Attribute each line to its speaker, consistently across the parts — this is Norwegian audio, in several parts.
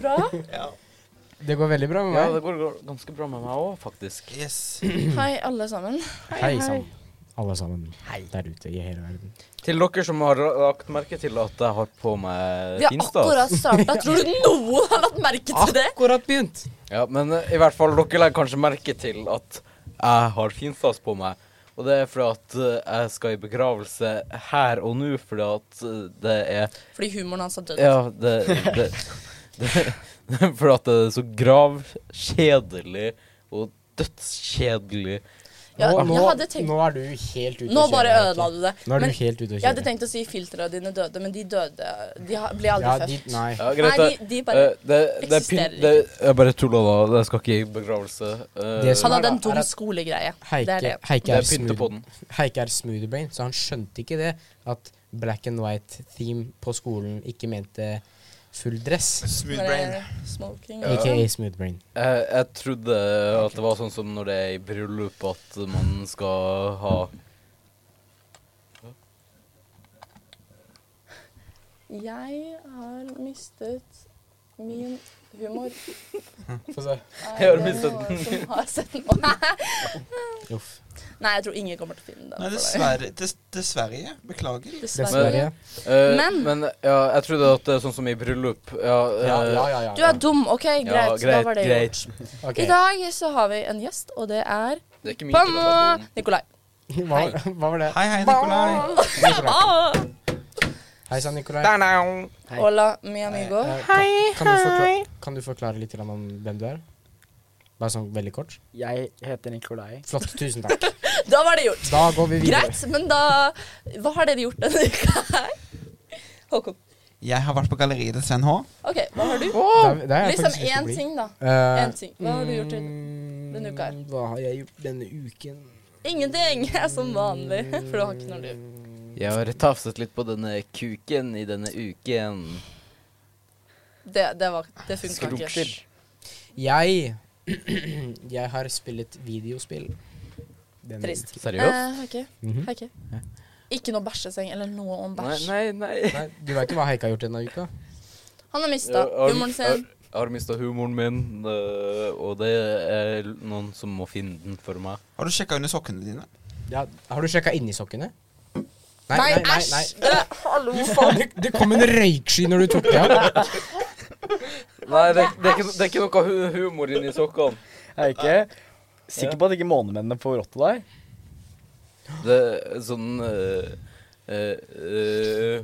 Speaker 1: bra.
Speaker 2: Det går veldig bra med
Speaker 3: Ja,
Speaker 2: meg.
Speaker 3: det går går ganske bra med meg òg, faktisk.
Speaker 4: Yes.
Speaker 1: Hei, alle sammen.
Speaker 2: Hei sann, alle sammen der ute i hele verden.
Speaker 3: Til dere som har lagt merke til at jeg har på meg
Speaker 1: Vi har
Speaker 3: Finstad.
Speaker 1: akkurat starta. Tror du noen har lagt merke til det?
Speaker 2: Akkurat begynt.
Speaker 3: Ja, men eh, i hvert fall, dere legger kanskje merke til at jeg har Finstas på meg. Og det er fordi at eh, jeg skal i begravelse her og nå, fordi at eh, det er
Speaker 1: Fordi humoren hans har dødd.
Speaker 3: Ja, det, det, det, det Fordi at det er så gravkjedelig og dødskjedelig.
Speaker 1: Ja,
Speaker 2: nå, nå,
Speaker 1: jeg hadde tenkt-
Speaker 2: nå er du helt ute å
Speaker 1: Nå bare
Speaker 2: kjøre,
Speaker 1: ødela du det.
Speaker 2: Nå er
Speaker 1: Men
Speaker 2: du helt ute å
Speaker 1: jeg hadde
Speaker 2: kjøre.
Speaker 1: tenkt å si filtra dine døde, men de døde De ha- ble aldri
Speaker 2: Ja,
Speaker 1: født.
Speaker 2: de, nei.
Speaker 3: Ja,
Speaker 1: Nei,
Speaker 3: Grete.
Speaker 1: de, de bare
Speaker 3: eh, det, det, er
Speaker 1: eksisterer
Speaker 3: pynt- det, jeg bare tuller da. Det skal ikke i begravelse. Eh,
Speaker 2: Det som-
Speaker 1: Han hadde en
Speaker 2: er
Speaker 1: dum
Speaker 2: at-
Speaker 1: skolegreie. Det
Speaker 2: Heike,
Speaker 1: er det.
Speaker 2: Heike,
Speaker 3: det
Speaker 2: er
Speaker 3: er pynte på
Speaker 2: smooth-
Speaker 3: den.
Speaker 2: Heike er smoothiebrain, så han skjønte ikke det. At black and white-theme på skolen ikke mente full dress.
Speaker 4: Smooth
Speaker 1: Når det
Speaker 4: brain.
Speaker 1: er Smoking.
Speaker 3: Ja.
Speaker 2: Ikke smoothbrain.
Speaker 3: Jeg, jeg trodde at det var sånn som når det er i bryllup, at man skal ha
Speaker 1: Jeg har mistet min humor.
Speaker 2: Få se.
Speaker 1: Er
Speaker 3: Jeg har
Speaker 1: det
Speaker 3: mistet
Speaker 1: noen
Speaker 3: den.
Speaker 1: som har sett den. Nei.
Speaker 2: Uff.
Speaker 1: Nei, jeg tror ingen kommer til å finne altså. den. for
Speaker 4: Nei,
Speaker 1: deg.
Speaker 4: dessverre. Dess, dessverre. Beklager.
Speaker 1: Dessverre.
Speaker 2: Dessverre.
Speaker 3: Eh,
Speaker 1: Men-
Speaker 3: ja, jeg trodde at det er sånn som i bryllup. Ja, eh,
Speaker 2: Ja, ja, ja. ja,
Speaker 1: Du er dum. OK, greit.
Speaker 3: ja,
Speaker 1: da var det
Speaker 3: greit.
Speaker 1: gjort.
Speaker 2: Ok.
Speaker 1: I dag så har vi en gjest, og det er
Speaker 3: Det er ikke mye til å ta
Speaker 1: Banna
Speaker 3: på den.
Speaker 1: Nikolai.
Speaker 2: Hva, hva var det?
Speaker 4: Hei, hei, Nikolai.
Speaker 2: Nikolai.
Speaker 1: Ah!
Speaker 2: Hei sann, Nikolai.
Speaker 3: Hei.
Speaker 1: Hola, mi amigo.
Speaker 2: Eh, kan, kan, du forklare, kan du forklare litt grann om hvem du er? Bare sånn veldig kort.
Speaker 5: Jeg heter Nikolai.
Speaker 2: Flott. Tusen takk.
Speaker 1: Da var det gjort.
Speaker 2: Da går vi videre.
Speaker 1: Greit, men da Hva har dere gjort denne uka her? Håkon.
Speaker 4: Jeg har vært på galleriet til Sven H.
Speaker 1: OK, hva har du?
Speaker 2: Det, det er jeg
Speaker 1: Liksom
Speaker 2: faktisk lyst til å
Speaker 1: én
Speaker 2: bli.
Speaker 1: ting, da.
Speaker 2: Eh,
Speaker 1: Én ting. Hva har du gjort? i- denne uka her?
Speaker 2: mm, Hva har jeg gjort denne uken?
Speaker 1: Ingenting. Jeg er som vanlig. For du har ikke noe liv.
Speaker 3: Jeg har tafset litt på denne kuken i denne uken.
Speaker 1: Det, det, var- det funka ikke.
Speaker 3: Skrukser.
Speaker 2: Jeg Jeg har spillet videospill. Denne
Speaker 1: Trist.
Speaker 2: uken.
Speaker 3: Seriøst?
Speaker 1: Eh, Heike.
Speaker 2: Mhm.
Speaker 1: Heike. Ikke noe bæsjeseng eller noe om
Speaker 3: Nei,
Speaker 1: bæsj.
Speaker 3: nei, nei.
Speaker 2: Nei, du vet ikke hva Heike har gjort denne uka?
Speaker 1: Han har mista
Speaker 3: Jeg har-
Speaker 1: humoren sin.
Speaker 3: Jeg, jeg har mista humoren min, eh, og det er noen som må finne den for meg.
Speaker 4: Har du sjekka under sokkene dine?
Speaker 2: Ja, har du sjekka inni sokkene?
Speaker 1: Nei, æsj! Øh, Hallo.
Speaker 2: Du faen, det- det kom en røyksky når du tok det av.
Speaker 3: Nei, det, det, er, ikke, det er ikke noe hu humor inni sokkene.
Speaker 5: Er ikke sikker på at ikke månemennene får rotte deg?
Speaker 3: Det er sånn eh, eh, eh,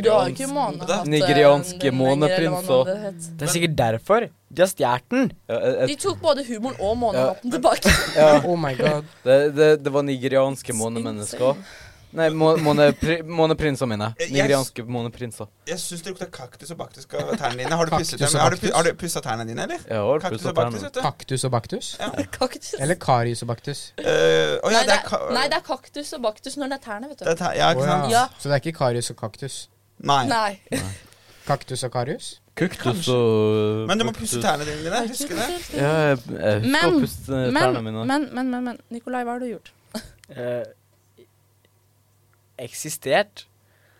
Speaker 1: Du har jo ikke
Speaker 3: nigeriansk-
Speaker 1: månehatt. eh,
Speaker 3: Nigerianske måneprinser.
Speaker 1: måneprinser.
Speaker 5: Det er sikkert derfor. De har stjålet den.
Speaker 3: Ja, eh, jeg- jeg-
Speaker 1: De tok både humoren og månehatten tilbake.
Speaker 3: ja.
Speaker 2: Oh my god.
Speaker 3: Det, det, det var nigerianske månemennesker. Nei, må, månepri, måneprinser mine.
Speaker 4: Eh, Yes.
Speaker 3: Nigerianske måneprinser.
Speaker 4: Jeg syns det lukter kaktus og baktus av tærne dine. Har du pusset
Speaker 2: Kaktus og
Speaker 4: dem? Har du,
Speaker 2: baktus?
Speaker 4: pu- har du pussa tærne dine, eller?
Speaker 3: Jeg har
Speaker 4: Kaktus
Speaker 3: pussa
Speaker 4: og baktus,
Speaker 3: tærne.
Speaker 4: vet du.
Speaker 2: Kaktus og baktus?
Speaker 1: Kaktus.
Speaker 2: Eller karius og baktus?
Speaker 4: Eh, å ja,
Speaker 1: nei,
Speaker 4: det er ka...
Speaker 1: nei, det er kaktus og baktus når det er tærne, vet
Speaker 4: det
Speaker 1: du.
Speaker 4: er tær- Ja, ikke
Speaker 2: Å
Speaker 4: sant?
Speaker 1: Ja.
Speaker 2: Så det er ikke karius og kaktus?
Speaker 4: Nei.
Speaker 1: Nei.
Speaker 2: Kaktus og karius?
Speaker 3: Kuktus og
Speaker 4: Men du må pusse tærne dine. Husker du det?
Speaker 3: Ja, jeg, jeg husker
Speaker 1: Men-
Speaker 3: å pusse
Speaker 1: Men,
Speaker 3: tærne mine.
Speaker 1: men, men, men, men Nikolai, hva har du gjort?
Speaker 5: Eh, eksistert.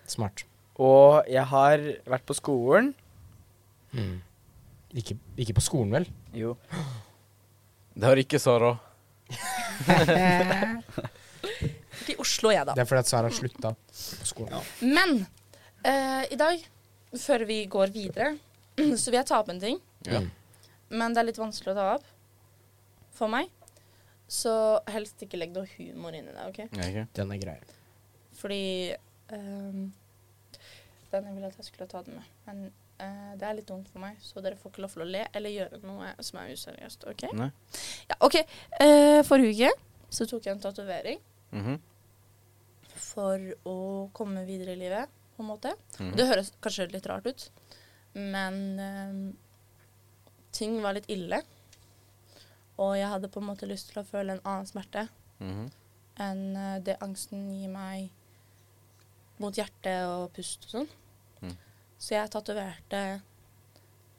Speaker 2: Smart.
Speaker 5: Og jeg har vært på skolen.
Speaker 2: Ikke, ikke på skolen, vel?
Speaker 5: Jo.
Speaker 3: Det har ikke Sara.
Speaker 1: I Oslo, jeg, da.
Speaker 2: Det er fordi at Sara slutta på skolen.
Speaker 1: Men eh, i dag, før vi går videre, så vil jeg ta opp en ting.
Speaker 3: Ja.
Speaker 1: Men det er litt vanskelig å ta opp for meg. Så helst ikke legg noe humor inn i det, OK?
Speaker 3: Ja, ikke?
Speaker 2: Den er grei.
Speaker 1: Fordi ehm, Den jeg ville at jeg skulle ta den med. Men eh, det er litt dumt for meg, så dere får ikke lov til å le eller gjøre noe som er useriøst. OK?
Speaker 3: Nei.
Speaker 1: Ja, ok. Eh, forrige uke så tok jeg en tatovering
Speaker 3: Mhm.
Speaker 1: for å komme videre i livet, på en måte.
Speaker 3: Mhm.
Speaker 1: Det høres kanskje litt rart ut, men ehm, ting var litt ille. Og jeg hadde på en måte lyst til å føle en annen smerte
Speaker 3: Mhm.
Speaker 1: enn eh, det angsten gir meg mot hjerte og pust og sånn.
Speaker 3: Mm.
Speaker 1: Så jeg tatoverte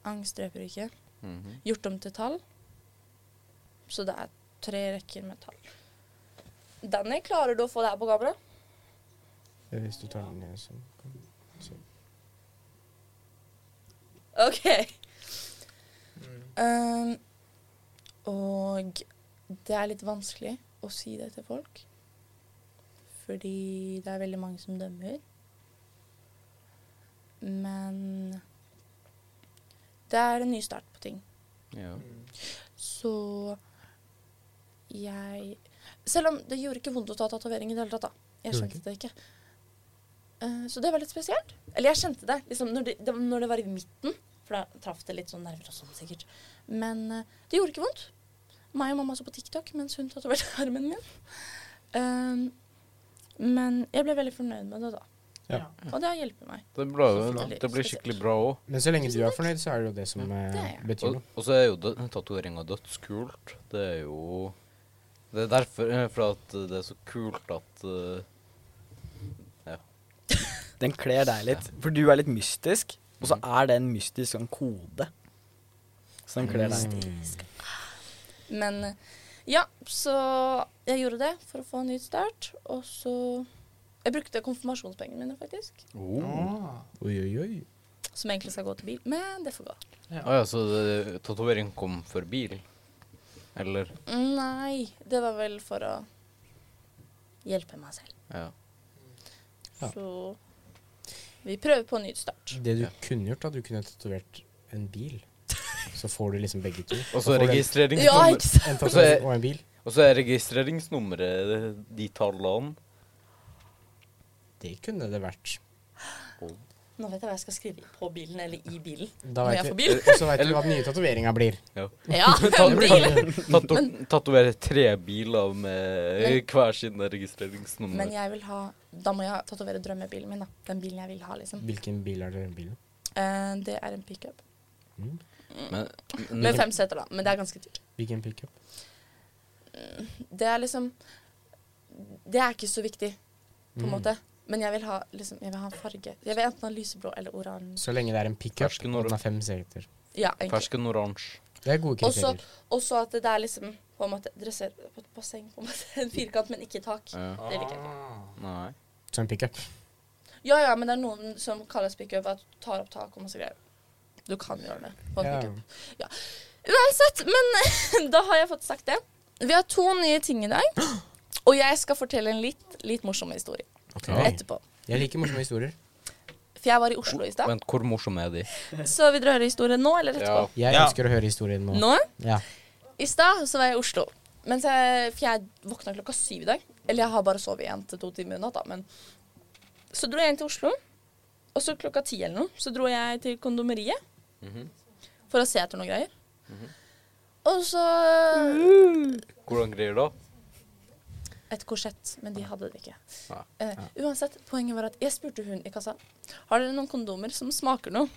Speaker 1: angst dreper ikke.
Speaker 3: Mhm.
Speaker 1: Gjort om til tall. Så det er tre rekker med tall. Danny, klarer du å få det her på kamera?
Speaker 2: Hvis du tar den ned sånn.
Speaker 1: OK. Um, og det er litt vanskelig å si det til folk. Fordi det er veldig mange som dømmer. Men det er en ny start på ting.
Speaker 3: Ja.
Speaker 1: Mm. Så jeg Selv om det gjorde ikke vondt å ta tatovering i det hele tatt, da. Jeg
Speaker 2: Gjorde
Speaker 1: skjønte det ikke. Eh, Så det var litt spesielt. Eller jeg skjønte det liksom, når, det, det var- når det var i midten, for da traff det litt sånn nerver og sånn sikkert. Men eh, det gjorde ikke vondt. Meg og mamma så på TikTok mens hun tatoverte armen min. Eh, men jeg ble veldig fornøyd med det da.
Speaker 2: Ja.
Speaker 1: Og det har hjulpet meg.
Speaker 3: Det, ble, jo-
Speaker 1: Veldig
Speaker 3: det blir
Speaker 1: spesielt.
Speaker 3: skikkelig bra òg.
Speaker 2: Men så lenge du er fornøyd, så er det jo det som eh,
Speaker 1: Det er jeg.
Speaker 2: betyr
Speaker 3: Og,
Speaker 2: noe.
Speaker 3: og så er jo dø- tatoveringa dødskult. Det er jo Det er derfor eh, for at det er så kult at eh,
Speaker 5: Den kler deg litt, for du er litt mystisk, og så er det en mystisk sånn kode. Så den kler deg.
Speaker 1: Men eh, ja, så jeg gjorde det for å få en ny start. Og så Jeg brukte konfirmasjonspengene mine, faktisk.
Speaker 4: Åh.
Speaker 2: Oi, oi, oi.
Speaker 1: Som egentlig skal gå til bil, men det får gå.
Speaker 3: Å ja, så det- tatovering kom for bil? Eller?
Speaker 1: Nei, det var vel for å hjelpe meg selv.
Speaker 3: Ja.
Speaker 2: Ja.
Speaker 1: Så vi prøver på en ny start.
Speaker 2: Det du
Speaker 3: Ja.
Speaker 2: kunne gjort, da, du kunne tatovert en bil. Så får du liksom begge to.
Speaker 3: Og
Speaker 2: Da
Speaker 3: så
Speaker 2: får du
Speaker 1: Ja,
Speaker 2: en-
Speaker 3: registreringsnummer.
Speaker 1: ikke sant?
Speaker 2: En tatovering og en bil.
Speaker 3: Og så er registreringsnummeret de tallene.
Speaker 2: Det kunne det vært.
Speaker 1: Nå vet jeg hva jeg skal skrive på bilen, eller i bilen.
Speaker 2: Da
Speaker 1: Når
Speaker 2: vet
Speaker 1: jeg
Speaker 2: vi-
Speaker 1: får bil.
Speaker 2: Og så veit du hva den nye tatoveringa blir.
Speaker 1: Ja, bil!
Speaker 3: Tato- Tatovere tre biler med
Speaker 1: Men-
Speaker 3: hver sine registreringsnummer.
Speaker 1: Men jeg vil ha Da må jeg tatovere drømmebilen min, da. Den bilen jeg vil ha, liksom.
Speaker 2: Hvilken bil er det? Bilen?
Speaker 1: Eh, det er en pickup.
Speaker 2: Mm.
Speaker 3: Men-
Speaker 1: Med fem seter, da. Men det er ganske dyrt.
Speaker 2: Hvilken pickup?
Speaker 1: Det er liksom Det er ikke så viktig, på en
Speaker 2: Mm.
Speaker 1: måte. Men jeg vil ha liksom, jeg vil ha en farge. Jeg vil enten ha lyseblå eller oransje.
Speaker 2: Så lenge det er en pickup
Speaker 3: Fersken
Speaker 2: og den har fem seter.
Speaker 1: Ja, egentlig.
Speaker 3: Fersken oransje.
Speaker 2: Det er gode
Speaker 1: Og så-
Speaker 2: kriterier.
Speaker 1: Og så at det det er liksom på en måte dresser på et basseng, på en måte. En firkant, men ikke tak.
Speaker 3: Ja.
Speaker 1: Det liker jeg ikke.
Speaker 3: Nei.
Speaker 2: Så en pickup.
Speaker 1: Ja ja, men det er noen som kalles pickup, at du tar opp tak og masse greier. Du kan gjøre det på en
Speaker 2: Ja.
Speaker 1: pickup. Uansett, men da har jeg fått sagt det. Vi har to nye ting i dag. Og jeg skal fortelle en litt, litt morsom historie
Speaker 2: Ok.
Speaker 1: etterpå.
Speaker 2: Jeg liker morsomme historier.
Speaker 1: For jeg var i Oslo i stad.
Speaker 3: Vent, hvor morsom er de?
Speaker 1: Så vil dere høre historien nå eller etterpå?
Speaker 2: Jeg
Speaker 4: Ja.
Speaker 2: ønsker å høre historien nå.
Speaker 1: Nå?
Speaker 2: Ja.
Speaker 1: I stad så var jeg i Oslo. Mens jeg, for jeg våkna klokka syv i dag. Eller jeg har bare sovet én til to timer i natt, da. Men så dro jeg inn til Oslo. Og så klokka ti eller noe, så dro jeg til kondomeriet for å se etter noen greier. Og så
Speaker 3: Hvordan greier da?
Speaker 1: et korsett, men de hadde det ikke.
Speaker 3: Nei.
Speaker 1: Eh, uansett, poenget var at jeg spurte hun i kassa Har dere noen kondomer som smaker noe.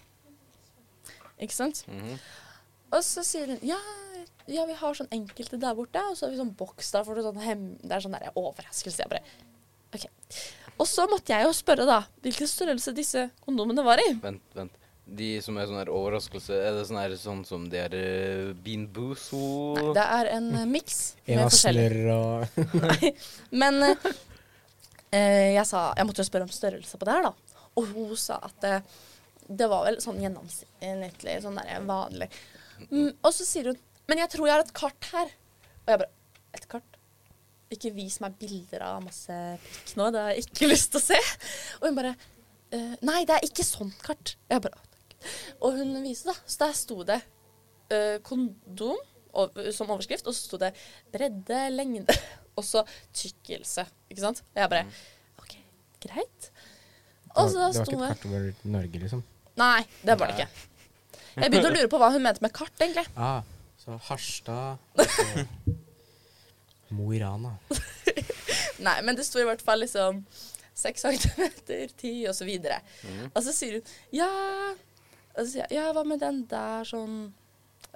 Speaker 1: Ikke sant?
Speaker 3: Mhm.
Speaker 1: Og så sier hun ja, ja, vi har sånn enkelte der borte, og så har vi sånn boks der, for det er sånn, hem, det er sånn der overraskelse. Jeg bare, ok. Og så måtte jeg jo spørre da, hvilken størrelse disse kondomene var i.
Speaker 3: Vent, vent. De som er sånn her overraskelse, er det sånn her sånn som de her eh, Bean
Speaker 1: Nei,
Speaker 3: Boozle?
Speaker 1: det er en eh, miks
Speaker 2: En
Speaker 1: med
Speaker 2: av
Speaker 1: forskjellig.
Speaker 2: snørr og
Speaker 1: Men eh, eh, jeg sa, jeg måtte jo spørre om størrelse på det her da. Og hun sa at eh, det var vel sånn gjennomsnittlig, sånn der vanlig. Mm, og så sier hun, men jeg tror jeg har et kart her. Og jeg bare, et kart? Ikke vis meg bilder av masse pikk nå, det har jeg ikke lyst til å se. Og hun bare, eh, nei, det er ikke sånt kart. Jeg bare, «Å, takk. Og hun viste da, så der sto det eh, kondom og, som overskrift, og så sto det bredde, lengde, og så tykkelse, ikke sant? Og jeg bare, ok, greit. Og så
Speaker 2: Mm. Det var
Speaker 1: sto jeg...
Speaker 2: ikke et kart over Norge, liksom.
Speaker 1: Nei, det var det ikke. Jeg begynte å lure på hva hun mente med kart, egentlig.
Speaker 2: Ah, så Harstad og Mo i Rana.
Speaker 1: Nei, men det sto i hvert fall liksom 6 centimeter, 10 og så videre. Og så sier hun ja, og så sier jeg, ja, hva med den der sånn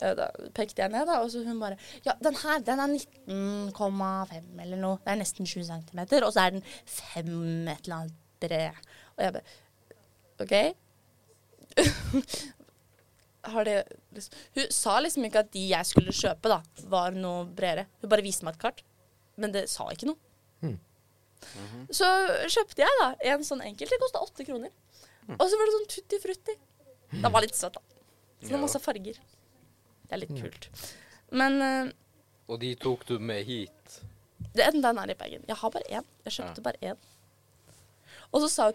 Speaker 1: Eh, Da pekte jeg ned, da, og så hun bare Ja, den her, den er 19,5 eller noe. Det er nesten 20 cm, og så er den 5 et eller annet bred. Og jeg bare OK? Har det liksom Hun sa liksom ikke at de jeg skulle kjøpe, da, var noe bredere. Hun bare viste meg et kart, men det sa ikke noe. Så kjøpte jeg da en sånn enkel. Det kosta åtte kroner. Og så var det sånn tutti frutti. Den var litt søt, da. Så det var masse farger. Det er litt kult. Men eh,
Speaker 3: Og de tok du med hit.
Speaker 1: det- den den er i bagen. Jeg har bare én. Jeg kjøpte bare én. Og så sa hun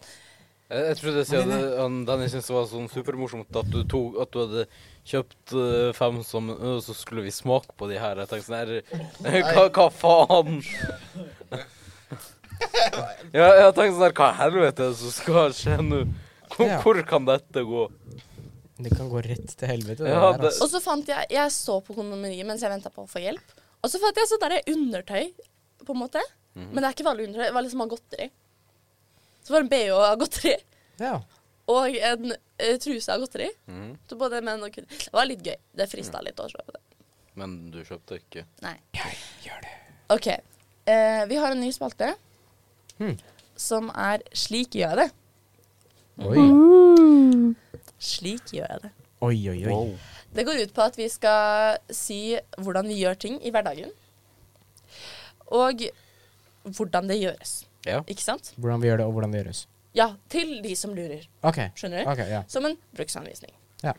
Speaker 3: Jeg, jeg trodde siden han Dennis syntes det var sånn supermorsomt at du, tok, at du hadde kjøpt eh, fem sammen, og så skulle vi smake på de her. Jeg tenkte sånn her Hva, hva faen? Ja, jeg tenkte sånn her Hva i helvete er det som skal skje nå? Hvor,
Speaker 2: Ja.
Speaker 3: hvor kan dette gå?
Speaker 2: Det kan gå rett til helvete. det
Speaker 3: Ja,
Speaker 2: der,
Speaker 3: det-
Speaker 2: altså.
Speaker 1: Og så fant jeg Jeg så på kondomeriet mens jeg venta på å få hjelp. Og så fant jeg sånn der undertøy, på en måte. Men det er ikke vanlig undertøy. Det var liksom av godteri. Så var det en bh av godteri
Speaker 2: Ja.
Speaker 1: og en eh, truse av godteri.
Speaker 3: Mhm.
Speaker 1: Så både menn og kvinner. Det var litt gøy. Det frista litt å kjøpe det.
Speaker 3: Men du kjøpte ikke.
Speaker 1: Nei.
Speaker 2: Jeg gjør det.
Speaker 1: OK. Eh, vi har en ny spalte
Speaker 2: Hmm.
Speaker 1: som er 'Slik gjør jeg det'.
Speaker 2: Oi,
Speaker 1: Mhm. Slik gjør jeg det.
Speaker 2: oi, oi.
Speaker 5: Mm,
Speaker 2: oi.
Speaker 1: Det går ut på at vi skal si hvordan vi gjør ting i hverdagen. Og hvordan det gjøres.
Speaker 3: Ja.
Speaker 1: Ikke sant?
Speaker 2: Hvordan vi gjør det, og hvordan det gjøres.
Speaker 1: Ja, til de som lurer.
Speaker 2: OK.
Speaker 1: Skjønner du?
Speaker 2: ok, ja.
Speaker 1: Som en bruksanvisning.
Speaker 2: ja.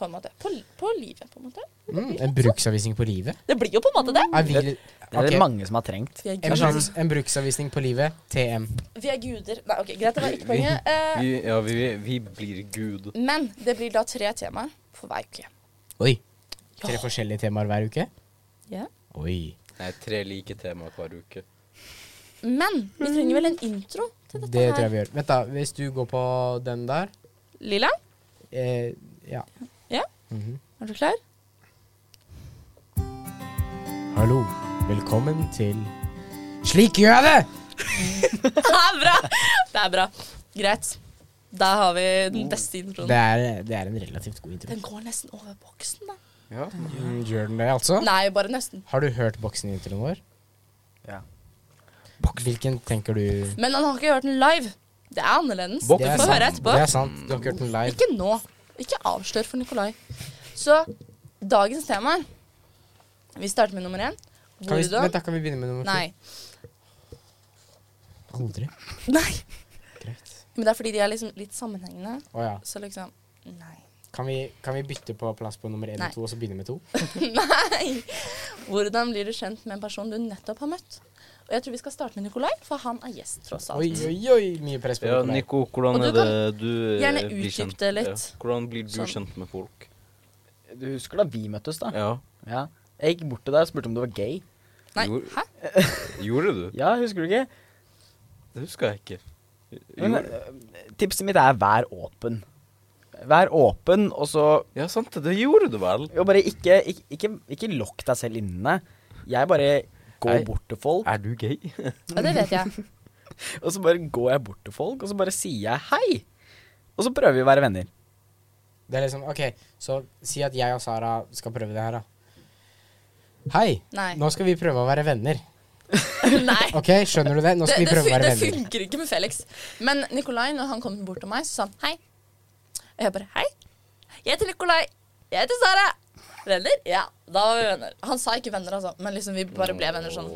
Speaker 1: På en måte. På, på livet, på en måte.
Speaker 2: Mm, en bruksanvisning på livet?
Speaker 1: Det blir jo på en måte det.
Speaker 2: Er vi
Speaker 5: Det er
Speaker 2: ok.
Speaker 5: det mange som har trengt.
Speaker 1: Vi er
Speaker 2: En,
Speaker 1: guder.
Speaker 2: bruks- en bruksanvisning på livet. TM.
Speaker 1: Vi er guder. Nei, ok, greit, det var ikke poenget. Eh,
Speaker 3: Vi, ja, vi, vi blir gud.
Speaker 1: men det blir da tre temaer for hver uke.
Speaker 2: Oi. Tre forskjellige temaer hver uke?
Speaker 1: Ja.
Speaker 2: Oi.
Speaker 3: Nei, tre like temaer hver uke.
Speaker 1: Men vi trenger vel en intro til dette
Speaker 2: Det
Speaker 1: her?
Speaker 2: tror jeg vi gjør. Vent, da. Hvis du går på den der
Speaker 1: Lilla,
Speaker 2: eh, Ja. Mhm.
Speaker 1: er du klar?
Speaker 2: Hallo. Velkommen til Slik gjør jeg det!
Speaker 1: Det er bra! Det er bra. Greit. Da har vi den beste introen.
Speaker 2: Oh. Det er, det er en relativt god intro.
Speaker 1: Den går nesten over boksen, da.
Speaker 3: Ja.
Speaker 2: Mm, Gjør den det, altså?
Speaker 1: Nei, bare nesten.
Speaker 2: Har du hørt boksen-introen vår?
Speaker 5: Ja.
Speaker 2: Hvilken tenker du
Speaker 1: Men han har ikke hørt den live. Det er annerledes.
Speaker 3: Bok-
Speaker 1: Du
Speaker 2: er
Speaker 1: får
Speaker 2: sant.
Speaker 1: høre etterpå.
Speaker 2: Det er sant. Du har ikke hørt den live.
Speaker 1: Ikke nå. Ikke avslør for Nikolai. Så dagens tema Vi starter med nummer én.
Speaker 2: Kan vi, vent,
Speaker 1: Hvordan
Speaker 2: da kan vi begynne med nummer to?
Speaker 1: Nei.
Speaker 2: Aldri.
Speaker 1: Nei.
Speaker 2: Greit.
Speaker 1: Men det er fordi de er liksom litt sammenhengende.
Speaker 2: Å ja.
Speaker 1: Så liksom Nei.
Speaker 2: Kan vi, kan vi bytte på plass på nummer én
Speaker 1: Nei.
Speaker 2: og to, og så begynne med to?
Speaker 1: Nei! Hvordan blir du kjent med en person du nettopp har møtt? Og jeg tror vi skal starte med Nikolai, for han er gjest, tross alt.
Speaker 2: Oi, oi, oi! Mye press på
Speaker 3: Ja,
Speaker 2: Nikolai.
Speaker 3: Nico, hvordan
Speaker 1: Og
Speaker 3: er
Speaker 1: du
Speaker 3: det
Speaker 1: kan
Speaker 3: du eh,
Speaker 1: gjerne
Speaker 3: blir
Speaker 1: utdype
Speaker 3: kjent-
Speaker 1: det litt.
Speaker 3: Ja. Hvordan blir du
Speaker 1: Sånn.
Speaker 3: kjent med folk?
Speaker 5: Du husker da vi møttes, da?
Speaker 3: Ja.
Speaker 5: Ja. Jeg gikk bort til deg og spurte om du var gay.
Speaker 1: Nei,
Speaker 3: Jo.
Speaker 1: hæ?
Speaker 3: Gjorde du?
Speaker 5: Ja, husker du ikke?
Speaker 3: Det husker jeg ikke.
Speaker 5: Men,
Speaker 3: Gjorde.
Speaker 5: eh, tipset mitt er vær åpen. Vær åpen, og så
Speaker 3: Ja, sant det. Det gjorde du vel?
Speaker 5: jo bare ikke, ikke, ikke, ikke lokk deg selv inne. Jeg bare går
Speaker 3: Nei.
Speaker 5: bort til folk,
Speaker 3: Er du gay?
Speaker 1: Ja, det vet jeg.
Speaker 5: og så bare går jeg bort til folk, og så bare sier jeg hei. Og så prøver vi å være venner.
Speaker 2: Det er liksom, ok, så si at jeg og Sara skal prøve det her, da. Hei,
Speaker 1: Nei.
Speaker 2: nå skal vi prøve å være venner.
Speaker 1: Nei.
Speaker 2: Ok, skjønner du det? Nå
Speaker 1: Det,
Speaker 2: skal vi
Speaker 1: det,
Speaker 2: prøve å
Speaker 1: fun-
Speaker 2: være
Speaker 1: det
Speaker 2: venner.
Speaker 1: funker ikke med Felix. Men Nikolai, når han kom bort til meg, så sa han hei. Og jeg bare hei. Jeg heter Nikolai. Jeg heter Sara. Venner? Ja, da var vi venner. Han sa ikke venner, altså, men liksom vi bare ble venner sånn.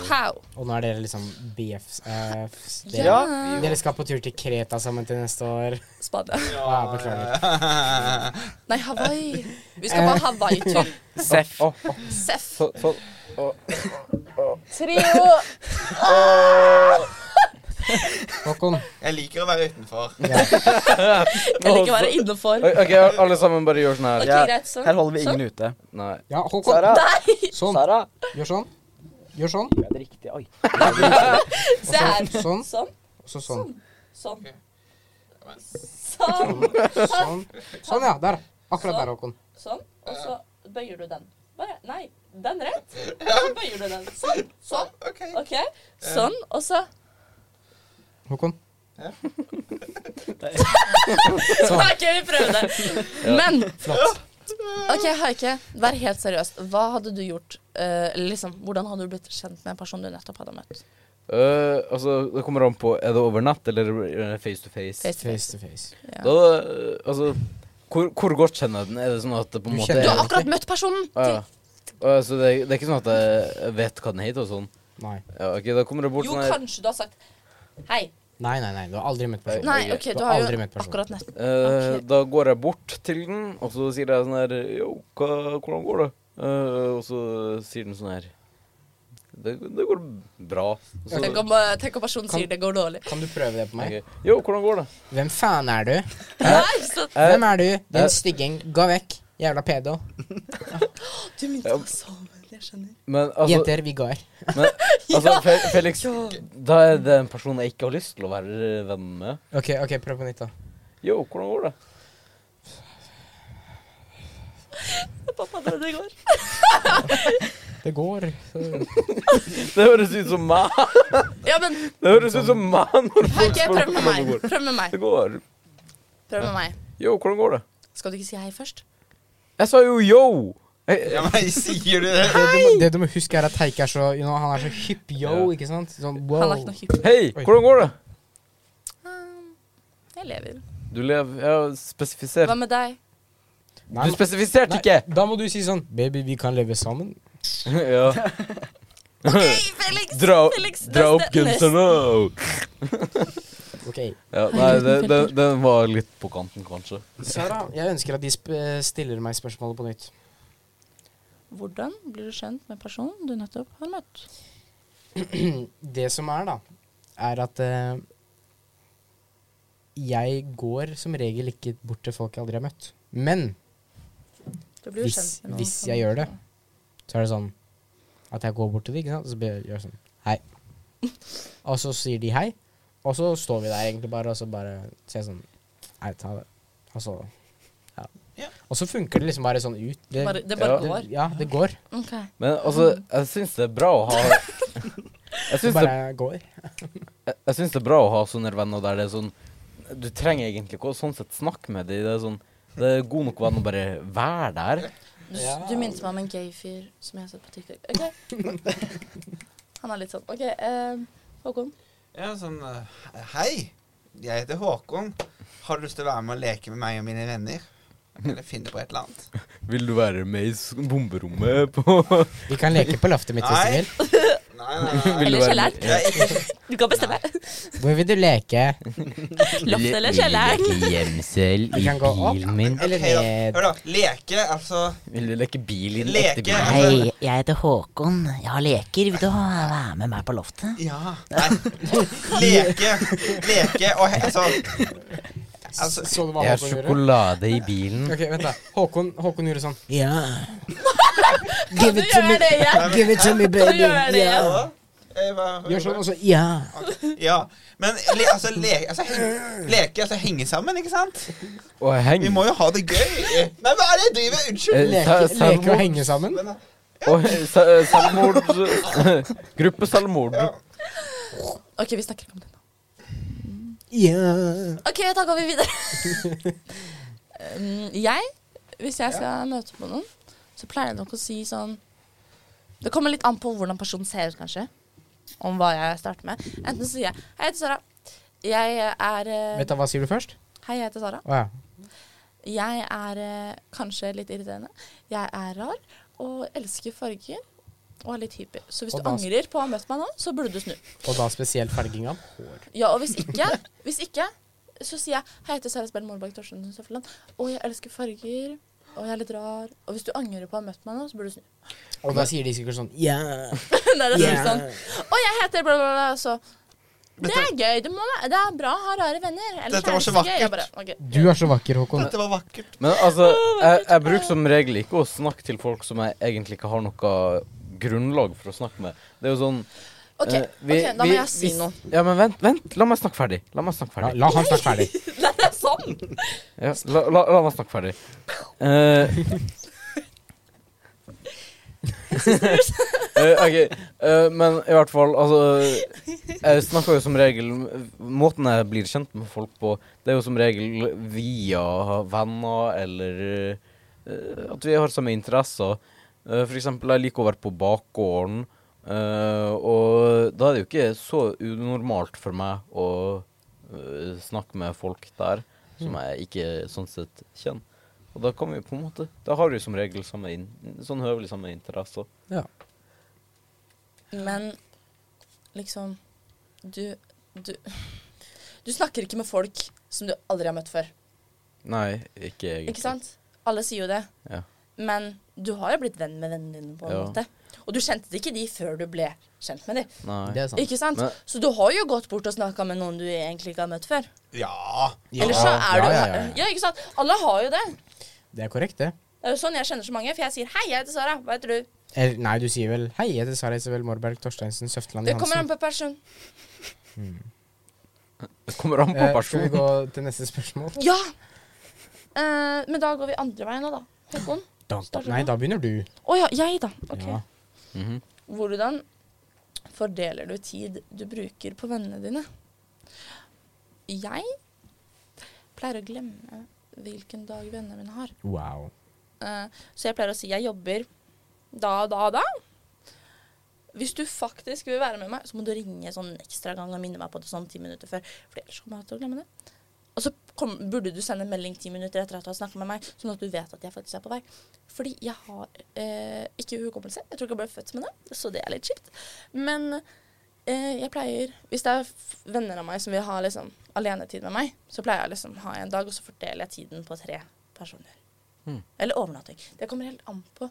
Speaker 1: Pow.
Speaker 2: Og nå er dere liksom BFs. eh, fs- dere,
Speaker 5: Ja.
Speaker 2: dere skal på tur til Kreta sammen til neste år.
Speaker 1: Spania.
Speaker 2: Ah, beklager.
Speaker 1: Nei, Hawaii. Vi skal
Speaker 2: Eh,
Speaker 1: på Hawaii-tur.
Speaker 5: Seff.
Speaker 1: Seff.
Speaker 3: Så, så,
Speaker 1: Trio.
Speaker 2: Håkon.
Speaker 4: Jeg liker å være utenfor.
Speaker 1: Jeg liker å være innenfor.
Speaker 3: OK, alle sammen bare gjør sånn her.
Speaker 1: Ok,
Speaker 5: Ja,
Speaker 1: greit, så.
Speaker 5: her holder vi ingen ute.
Speaker 3: Nei.
Speaker 2: Ja, Håkon.
Speaker 5: Sara!
Speaker 2: Sånn.
Speaker 5: Sara!
Speaker 2: Gjør sånn. Gjør sånn.
Speaker 5: Ja, det er riktig. Oi.
Speaker 1: Se her.
Speaker 2: Sånn.
Speaker 1: Sånn.
Speaker 2: Og så sånn.
Speaker 1: Sånn. Sånn.
Speaker 2: Sånn. Sånn, ja. Der. Akkurat der, Håkon.
Speaker 1: Sånn, og så bøyer du den. Bare, nei, den rett. Så bøyer du den. Sånn, sånn.
Speaker 4: Ok.
Speaker 1: Ok, sånn, og så
Speaker 2: Håkon. Sånn.
Speaker 1: OK, vi prøver det. Men OK, Haike, vær helt seriøs. Hva hadde du gjort eh, eller liksom, Hvordan hadde du blitt kjent med en person du nettopp hadde møtt?
Speaker 3: Øh, altså, det kommer an på Er det over nett eller eh, face to face?
Speaker 1: Face to
Speaker 2: Face
Speaker 1: face.
Speaker 2: to face.
Speaker 3: Da, øh, altså hvor, hvor godt kjenner jeg den? Er det sånn at det på en
Speaker 2: Du
Speaker 3: måte
Speaker 1: Du
Speaker 2: kjenner den.
Speaker 1: har akkurat møtt personen!
Speaker 2: Ah,
Speaker 3: Ja, ja. Øh, Så det, det er ikke sånn at jeg vet hva den heter og sånn?
Speaker 2: Nei.
Speaker 3: Ja, ok, da kommer det bort
Speaker 1: Jo,
Speaker 3: sånn her
Speaker 1: kanskje du har sagt Hei,
Speaker 2: Nei, nei, nei. Du har aldri møtt personen.
Speaker 1: Nei,
Speaker 3: jeg-
Speaker 1: OK,
Speaker 2: du
Speaker 1: du
Speaker 2: har
Speaker 1: har
Speaker 2: aldri
Speaker 1: jo
Speaker 2: møtt sånn. personen.
Speaker 1: akkurat nett
Speaker 3: Eh,
Speaker 1: Ok.
Speaker 3: Da går jeg bort til den, og så sier jeg sånn her Yo, hva, hvordan går det? Eh, og så sier den sånn her Det, det går bra. Og så,
Speaker 1: Tenk om, eh, tenk om personen
Speaker 2: Kan-
Speaker 1: sier det går dårlig.
Speaker 2: Kan du prøve det på meg?
Speaker 3: tenker jeg, Yo, hvordan går det?
Speaker 2: Hvem faen er du?
Speaker 1: Nei, så
Speaker 3: Eh,
Speaker 2: Hvem er du?
Speaker 3: eh.
Speaker 2: Din stygging. Gå vekk. Jævla pedo.
Speaker 1: Du minte meg så mye, jeg skjønner.
Speaker 3: men altså,
Speaker 2: Jenter, vi går.
Speaker 3: men, altså
Speaker 1: Ja.
Speaker 3: Fe- Felix,
Speaker 1: Ja.
Speaker 3: da er det en person jeg ikke har lyst til å være venn med.
Speaker 2: OK, ok, prøv på nytt, da.
Speaker 3: Yo, hvordan går det?
Speaker 1: Pappa døde i går.
Speaker 2: Det går.
Speaker 3: Det høres ut som meg!
Speaker 1: Ja, men
Speaker 3: Det høres ut som meg når folk
Speaker 1: OK, prøv
Speaker 3: spør
Speaker 1: med
Speaker 3: hvordan det
Speaker 1: meg.
Speaker 3: går.
Speaker 1: Prøv med meg.
Speaker 3: Det går.
Speaker 1: Prøv med meg.
Speaker 3: Yo, hvordan går det?
Speaker 1: Skal du ikke si hei først?
Speaker 3: Jeg sa jo yo! Jeg,
Speaker 4: Ja, men sier du det?
Speaker 2: Det, du må, det du må huske, er at Heike er så you know, Han er så hypp, yo, ikke sant? Sånn wow.
Speaker 1: Han er ikke noe hypp.
Speaker 3: Hei,
Speaker 2: Oi.
Speaker 3: hvordan går det?
Speaker 1: Um, Jeg lever.
Speaker 3: Du lever Jeg har spesifisert.
Speaker 1: Hva med deg?
Speaker 2: Nei,
Speaker 3: Du spesifiserte ikke!
Speaker 2: Nei, da må du si sånn Baby, vi kan leve sammen.
Speaker 3: ja.
Speaker 1: OK, Felix!
Speaker 3: Dra,
Speaker 1: Felix,
Speaker 3: dra opp
Speaker 1: neste-
Speaker 3: genseren og
Speaker 2: Ok.
Speaker 3: ja, Nei, det- den, den var litt på kanten, kanskje.
Speaker 2: Sara, jeg ønsker at de sp eh, stiller meg spørsmålet på nytt.
Speaker 1: Hvordan blir du kjent med personen du nettopp har møtt?
Speaker 2: Det som er, da, er at eh, jeg går som regel ikke bort til folk jeg aldri har møtt. Men
Speaker 1: Du blir jo
Speaker 2: hvis,
Speaker 1: kjent med noen
Speaker 2: hvis
Speaker 1: som-
Speaker 2: jeg gjør det, så er det sånn at jeg går bort til dem, ikke sant? så blir jeg gjør jeg sånn Hei. Og så sier de hei, og så står vi der egentlig bare, og så bare sier jeg sånn Hei, ta det. Og så ja.
Speaker 4: Ja.
Speaker 2: Og så funker det liksom bare sånn ut. Det,
Speaker 1: Bare- det bare
Speaker 2: det-
Speaker 1: går.
Speaker 2: Ja, det går.
Speaker 1: Ok.
Speaker 3: Men altså, jeg syns det er bra å ha Jeg
Speaker 2: Det
Speaker 3: syns det,
Speaker 2: bare går.
Speaker 3: jeg- jeg syns det er bra å ha sånne venner der det er sånn Du trenger egentlig ikke å sånn sett snakke med dem. Det er sånn Det er god nok venn å bare være der.
Speaker 1: Du, s-
Speaker 2: Ja.
Speaker 1: du minnet meg om en gay fyr som jeg har sett på TikTok. Ok. Han er litt sånn OK, eh, Håkon.
Speaker 4: Ja, sånn eh, Hei, jeg heter Håkon. Har du lyst til å være med og leke med meg og mine venner? Eller finne på et eller annet?
Speaker 3: Vil du være med i s- bomberommet på
Speaker 2: Vi kan leke på loftet mitt hvis du
Speaker 4: Nei.
Speaker 2: vil.
Speaker 4: Nei, nei,
Speaker 3: Vil
Speaker 4: nei.
Speaker 3: du
Speaker 1: Eller
Speaker 3: være
Speaker 1: kjelleren.
Speaker 4: Jeg er ikke
Speaker 1: Du kan bestemme.
Speaker 2: Hvor vil du leke?
Speaker 1: Loft eller kjelleren.
Speaker 3: Vil du leke gjemsel
Speaker 2: Vi kan gå opp
Speaker 3: min?
Speaker 2: eller
Speaker 4: Ok, da.
Speaker 2: ned.
Speaker 4: Hør, da. Leke, altså
Speaker 3: Vil du leke bil i en
Speaker 4: Leke.
Speaker 3: ekte bil?
Speaker 6: Hei, jeg heter Håkon. Jeg har leker. Vil du ha- være med meg på loftet?
Speaker 4: Ja. Nei. Leke. Leke og he- altså Altså
Speaker 2: Så du hva
Speaker 3: Jeg har
Speaker 2: Håkon gjorde?
Speaker 3: sjokolade i bilen.
Speaker 2: Ok, vent da. Håkon, Håkon gjorde sånn.
Speaker 6: Ja.
Speaker 1: Kan du gjøre det igjen?
Speaker 6: Give it to me,
Speaker 1: Kan du
Speaker 6: baby.
Speaker 1: gjøre det igjen?
Speaker 4: ja. Eh, hva-
Speaker 2: Gjør sånn, og så
Speaker 6: Ja.
Speaker 4: Ja. Men le, altså, leke, altså, heng, leke, altså henge sammen, ikke sant?
Speaker 3: Og heng. Eh,
Speaker 4: Vi må jo ha det gøy. Nei, hva er det jeg driver med? Unnskyld.
Speaker 2: leke, leke og henge sammen.
Speaker 4: Men,
Speaker 3: Og se- selvmord Gruppe selvmord.
Speaker 1: OK, vi snakker ikke om det nå.
Speaker 2: Ja.
Speaker 1: OK, da går vi videre. Um, jeg, hvis jeg skal møte på noen, så pleier jeg nok å si sånn Det kommer litt an på hvordan personen ser ut, kanskje. Om hva jeg starter med. Enten sier jeg Hei, jeg heter Sara. Jeg er eh,
Speaker 2: Vet du hva sier du først?
Speaker 1: Hei, jeg heter Sara.
Speaker 2: Å ja.
Speaker 1: Jeg er eh, kanskje litt irriterende. Jeg er rar og elsker farger og er litt hyper. Så hvis
Speaker 2: Og
Speaker 1: du
Speaker 2: dans.
Speaker 1: angrer på å ha møtt meg nå, så burde du snu.
Speaker 2: Og da spesielt farging av hår.
Speaker 1: Ja, og hvis ikke, hvis ikke så sier jeg Hei, jeg heter Sara Spell Målbakk Torstensen Søfteland, og jeg elsker farger. Og jeg er litt rar. Og hvis du angrer på å ha møtt meg nå, så burde du snu.
Speaker 2: Og da sier de sikkert sånn
Speaker 6: Ja.
Speaker 1: Nei, det er
Speaker 6: Ja.
Speaker 1: yeah. sånn. Og jeg heter bla, bla, bla. Så det er gøy. Det, må, være- det er bra å ha rare venner. Ellers
Speaker 4: Dette
Speaker 1: er
Speaker 4: var
Speaker 1: det
Speaker 4: så
Speaker 1: ikke gøy. Jeg
Speaker 4: vakkert.
Speaker 1: Bare, ok.
Speaker 2: Du er så vakker, Håkon.
Speaker 4: dette var vakkert.
Speaker 3: Men altså, jeg, jeg bruker som regel ikke å snakke til folk som jeg egentlig ikke har noe grunnlag for å snakke med. Det er jo sånn
Speaker 1: Ok,
Speaker 3: eh, vi-
Speaker 1: ok, da må
Speaker 3: vi-
Speaker 1: jeg si
Speaker 3: vi-
Speaker 1: noe.
Speaker 3: Ja, men vent, vent. La meg snakke ferdig. La meg snakke
Speaker 2: La,
Speaker 3: ferdig.
Speaker 2: la han snakke ferdig.
Speaker 1: Nei, det er sånn!
Speaker 3: Ja, la, la, la meg snakke ferdig. Eh, eh, ok, eh, men i hvert fall, altså Jeg snakker jo som regel Måten jeg blir kjent med folk på, det er jo som regel via venner eller eh, at vi har samme interesser. Eh, for eksempel, jeg liker å være på bakgården, eh, og da er det jo ikke så unormalt for meg å eh, snakke med folk der som jeg ikke sånn sett kjenner. Og da kan vi på en måte Da har vi som regel samme in sånn høvelig samme interesser.
Speaker 2: Ja.
Speaker 1: Men liksom Du, du Du snakker ikke med folk som du aldri har møtt før.
Speaker 3: Nei, ikke egentlig.
Speaker 1: Ikke sant? Alle sier jo det.
Speaker 3: Ja.
Speaker 1: Men du har jo blitt venn med vennene dine på en
Speaker 3: Ja.
Speaker 1: måte. Og du kjente ikke de før du ble kjent med de.
Speaker 3: Nei.
Speaker 2: Det er sant.
Speaker 1: Ikke sant?
Speaker 3: Men-
Speaker 1: Så du har jo gått bort og snakka med noen du egentlig ikke har møtt før.
Speaker 4: Ja.
Speaker 2: Ja,
Speaker 1: Ellers så er
Speaker 2: ja,
Speaker 1: du
Speaker 2: ja, ja, ja.
Speaker 1: ikke sant? Alle har jo det.
Speaker 2: Det er korrekt, det.
Speaker 1: Det er jo sånn jeg kjenner så mange. For jeg sier 'hei, jeg heter Sara'. Hva heter du?
Speaker 2: Eller, nei, du sier vel 'Hei, jeg heter Sara Isabel Morberg Torsteinsen Søfteland
Speaker 1: Det kommer an
Speaker 2: Johansen'.
Speaker 1: på person.
Speaker 3: Det kommer an på
Speaker 2: Eh, skal vi
Speaker 3: personen.
Speaker 2: gå til neste spørsmål?
Speaker 1: Ja! Eh, men da går vi andre veien nå, da. Håkon.
Speaker 2: Da,
Speaker 1: Starter
Speaker 2: nei,
Speaker 1: du?
Speaker 2: da begynner du.
Speaker 1: Å ja, jeg, da. Ok.
Speaker 2: Ja.
Speaker 3: Mhm.
Speaker 1: Hvordan fordeler du tid du bruker på vennene dine? Jeg pleier å glemme hvilken dag vennene mine har.
Speaker 2: Wow.
Speaker 1: Eh, Så jeg pleier å si jeg jobber da, da, da. Hvis du faktisk vil være med meg, så må du ringe sånn en ekstra gang og minne meg på det sånn ti minutter før. For ellers kommer jeg til å glemme det. Og så kom, burde du sende en melding ti minutter etter at du har snakket med meg, sånn at du vet at jeg faktisk er på vei. Fordi jeg har eh, ikke hukommelse. Jeg tror ikke jeg ble født med det, så det er litt kjipt. Men eh, jeg pleier Hvis det er f- venner av meg som vil ha liksom alenetid med meg, så pleier jeg liksom ha en dag, og så fordeler jeg tiden på tre personer. Eller overnatting. Det kommer helt an på.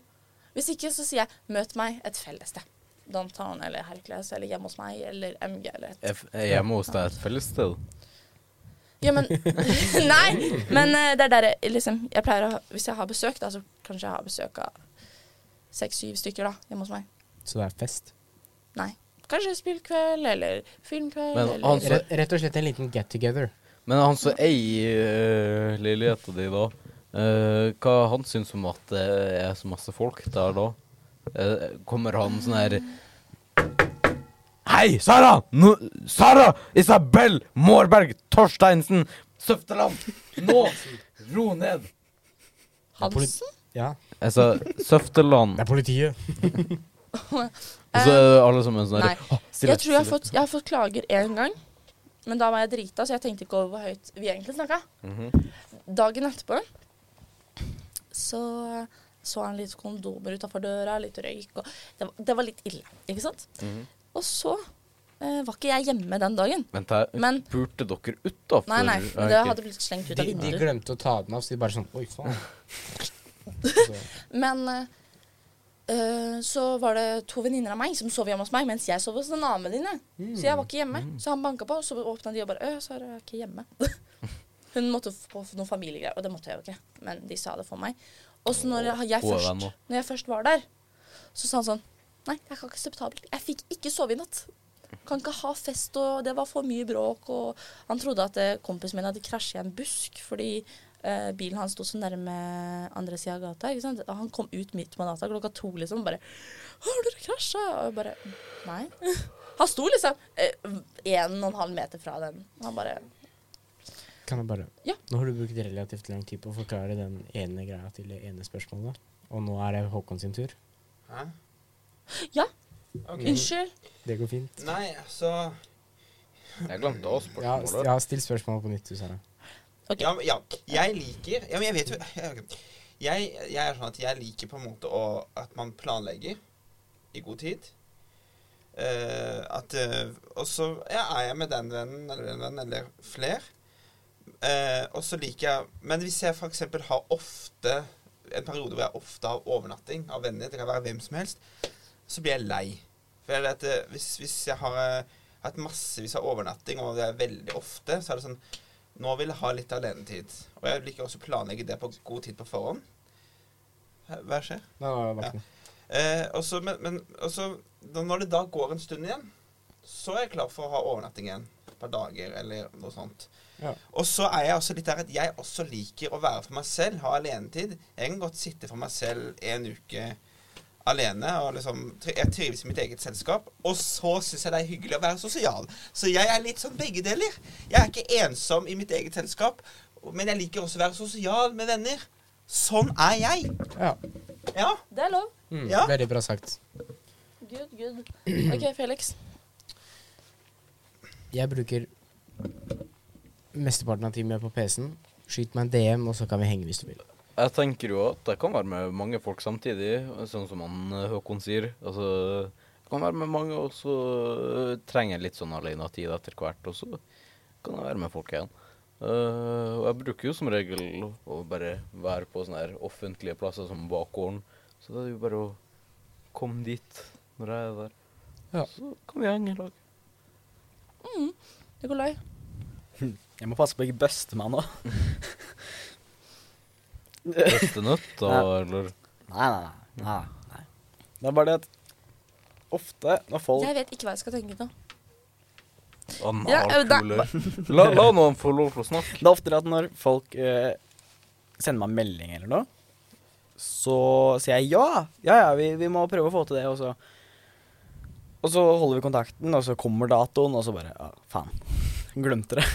Speaker 1: Hvis ikke, så sier jeg 'møt meg et fellessted'. Downtown eller Hercules eller hjemme hos meg eller MG eller et
Speaker 3: Jeg f- jeg er hjemme hos deg et felles sted.
Speaker 1: Ja, men Nei! Men eh, det er der jeg liksom Jeg pleier å ha- Hvis jeg har besøk, da, så kanskje jeg har besøk av seks-syv stykker, da, hjemme hos meg.
Speaker 2: Så det er fest.
Speaker 1: Nei. Kanskje spillkveld eller filmkveld
Speaker 3: Men
Speaker 1: eller
Speaker 3: han som-
Speaker 2: Rett, rett og slett en liten get together.
Speaker 3: Men han som eier uh, leiligheta di, da, eh, hva han syns om at det er så masse folk der da? Eh, kommer han sånn her Hei, Sara! Nå, Sara Isabel Mårberg Torsteinsen Søfteland! Nå! Ro ned!
Speaker 1: Hansen?
Speaker 2: Ja.
Speaker 3: Jeg sa Altså, Søfteland.
Speaker 2: Det er politiet.
Speaker 3: Og så er alle sammen sånn
Speaker 1: Nei.
Speaker 3: her «Å, stille,
Speaker 1: Jeg tror jeg har
Speaker 3: stille».
Speaker 1: fått, jeg har fått klager én gang. Men da var jeg drita, så jeg tenkte ikke over hvor høyt vi egentlig snakka.
Speaker 3: Mhm.
Speaker 1: Dagen etterpå så så han litt kondomer utafor døra, litt røyk og Det var, det var litt ille, ikke sant?
Speaker 3: Mhm.
Speaker 1: Og så eh, var ikke jeg hjemme den dagen.
Speaker 3: Vent her.
Speaker 1: Men
Speaker 3: Purte dere utafor?
Speaker 1: nei, nei, men det hadde blitt slengt ut av
Speaker 2: De, de
Speaker 1: vinduet. liksom.
Speaker 2: glemte å ta den av, så de bare sånn Oi, faen. Så,
Speaker 1: Men eh, eh, så var det to venninner av meg som sov hjemme hos meg, mens jeg sov hos en annen venninne. Så jeg var ikke hjemme. Så han banka på, og så åpna de og bare Øh, Sara er ikke hjemme. Hun måtte f- på noen familiegreier, og det måtte jeg jo ikke. Men de sa det for meg. Og så når jeg, jeg,
Speaker 3: Gode
Speaker 1: først,
Speaker 3: venner.
Speaker 1: når jeg først var der, så sa han sånn Nei, det er ikke akseptabelt. Jeg fikk ikke sove i natt. Kan ikke ha fest, og det var for mye bråk. Og han trodde at eh, kompisen min hadde krasja i en busk fordi eh, bilen hans sto så nærme andre sida av gata. Ikke sant? Og Han kom ut midt på natta klokka to liksom og bare 'Har dere krasja?' Og jeg bare Nei. Han sto liksom eh, en og en halv meter fra den. Og Han bare
Speaker 2: kan jeg bare
Speaker 1: Ja.
Speaker 2: Nå har du brukt relativt lang tid på å forklare den ene greia til det ene spørsmålet. Og nå er det Håkon sin tur.
Speaker 4: Hæ?
Speaker 1: Ja,
Speaker 4: Ok.
Speaker 1: unnskyld.
Speaker 2: Det går fint.
Speaker 4: Nei, altså, så
Speaker 3: Jeg glemte å
Speaker 2: Ja, s- ja still spørsmålet på nytt, du, Sara.
Speaker 1: Ok.
Speaker 4: ja, men- ja, jeg liker Ja, men jeg vet jo jeg, jeg er sånn at jeg liker på en måte å, at man planlegger i god tid. Eh, at eh, Og så ja, er jeg med den vennen eller den vennen eller fler. Eh, og så liker jeg Men hvis jeg f.eks. har ofte En periode hvor jeg ofte har overnatting av venner, det kan være hvem som helst, så blir jeg lei. For jeg vet, eh, hvis, hvis jeg har eh, hatt massevis av overnatting, og det er veldig ofte, så er det sånn nå vil jeg ha litt alenetid. Og jeg liker også å planlegge det på god tid på forhånd. Hva skjer?
Speaker 2: Nå var det ikke noe.
Speaker 4: Eh, og så- men men og så, da- når det da går en stund igjen, så er jeg klar for å ha overnatting igjen. Et par dager eller noe sånt.
Speaker 2: Ja.
Speaker 4: Og så er jeg også litt der at jeg også liker å være for meg selv, ha alenetid. Jeg kan godt sitte for meg selv en uke alene, og liksom tri- Jeg trives i mitt eget selskap. Og så syns jeg det er hyggelig å være sosial. Så jeg er litt sånn begge deler. Jeg er ikke ensom i mitt eget selskap, men jeg liker også å være sosial med venner. Sånn er jeg.
Speaker 2: Ja.
Speaker 4: Ja.
Speaker 1: Det er lov.
Speaker 2: Mm,
Speaker 4: Ja.
Speaker 2: Veldig bra sagt.
Speaker 1: Good, good. OK, Felix.
Speaker 2: Jeg bruker mesteparten av tiden min på PC-en. Skyt meg en DM, og så kan vi henge hvis du vil.
Speaker 3: Jeg tenker jo at det kan være med mange folk samtidig, sånn som han eh, Håkon sier. Altså, det kan være med mange, og så eh, trenger jeg litt sånn alenetid etter hvert. Og så kan jeg være med folk igjen. Eh, og jeg bruker jo som regel å bare være på sånne her offentlige plasser som bakgården. Så det er jo bare å komme dit når jeg er der.
Speaker 2: Ja.
Speaker 3: Så kan vi henge i lag.
Speaker 1: Nikolai?
Speaker 5: Jeg må passe på å ikke bøste meg nå.
Speaker 3: Høstenøtt, da, eller
Speaker 5: Nei, nei, nei, nei, nei. Det er bare det at ofte når folk
Speaker 1: Jeg vet ikke hva jeg skal tenke nå. Ja, eh, da-
Speaker 3: analkuler. La, la noen få lov til å snakke.
Speaker 5: Det er oftere at når folk eh, sender meg en melding eller noe, så sier jeg ja, ja, ja, vi, vi må prøve å få til det, og så Og så holder vi kontakten, og så kommer datoen, og så bare ja, faen. Glemte det.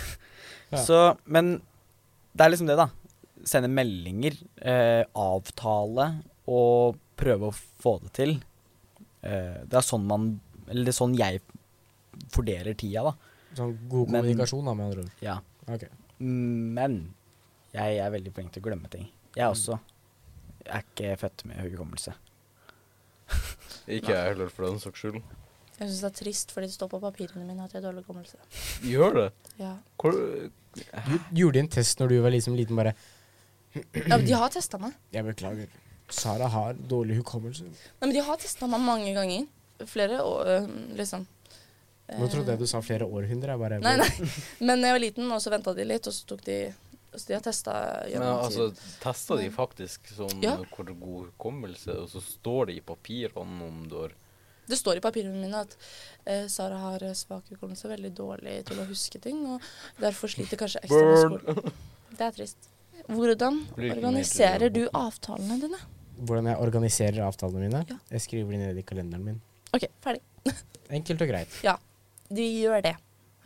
Speaker 2: Ja.
Speaker 5: Så, men det er liksom det, da. Sende meldinger, eh, avtale og prøve å få det til. Eh, det er sånn man Eller det er sånn jeg fordeler tida, da.
Speaker 2: Sånn god
Speaker 5: Men-
Speaker 2: kommunikasjon, da, med andre ord.
Speaker 5: Ja.
Speaker 2: Ok.
Speaker 5: Men jeg er veldig flink til å glemme ting. Jeg også. Jeg er ikke født med hukommelse.
Speaker 3: Ikke jeg heller, for den saks skyld.
Speaker 1: Jeg syns det er trist, fordi det står på papirene mine at jeg har dårlig hukommelse.
Speaker 3: Gjør det.
Speaker 1: Ja.
Speaker 3: Hvor,
Speaker 2: Du gjorde en test når du var liksom liten, bare
Speaker 1: ja, men De har testa meg.
Speaker 2: Jeg beklager. Sara har dårlig hukommelse.
Speaker 1: Nei, men De har testa meg mange ganger. Flere år, øh, liksom.
Speaker 2: Nå trodde jeg du sa flere århundrer. Jeg bare
Speaker 1: Eh. Nei, nei. Men da jeg var liten, og så venta de litt, og så tok de Så de har testa
Speaker 3: men altså, testa de
Speaker 1: Mm.
Speaker 3: faktisk sånn
Speaker 1: Ja.
Speaker 3: hvor god hukommelse, og så står det i papirene om du har
Speaker 1: Det står i papirene mine at eh, Sara har eh, svak hukommelse, veldig dårlig til å huske ting, og derfor sliter kanskje ekstra med skolen. Det er trist. Hvordan
Speaker 3: Blir ikke
Speaker 1: organiserer
Speaker 3: mer
Speaker 1: du
Speaker 3: til å-
Speaker 1: avtalene dine?
Speaker 2: Hvordan jeg organiserer avtalene mine?
Speaker 1: Ja.
Speaker 2: Jeg skriver de ned i kalenderen min.
Speaker 1: OK, ferdig.
Speaker 2: Enkelt og greit.
Speaker 1: De gjør det.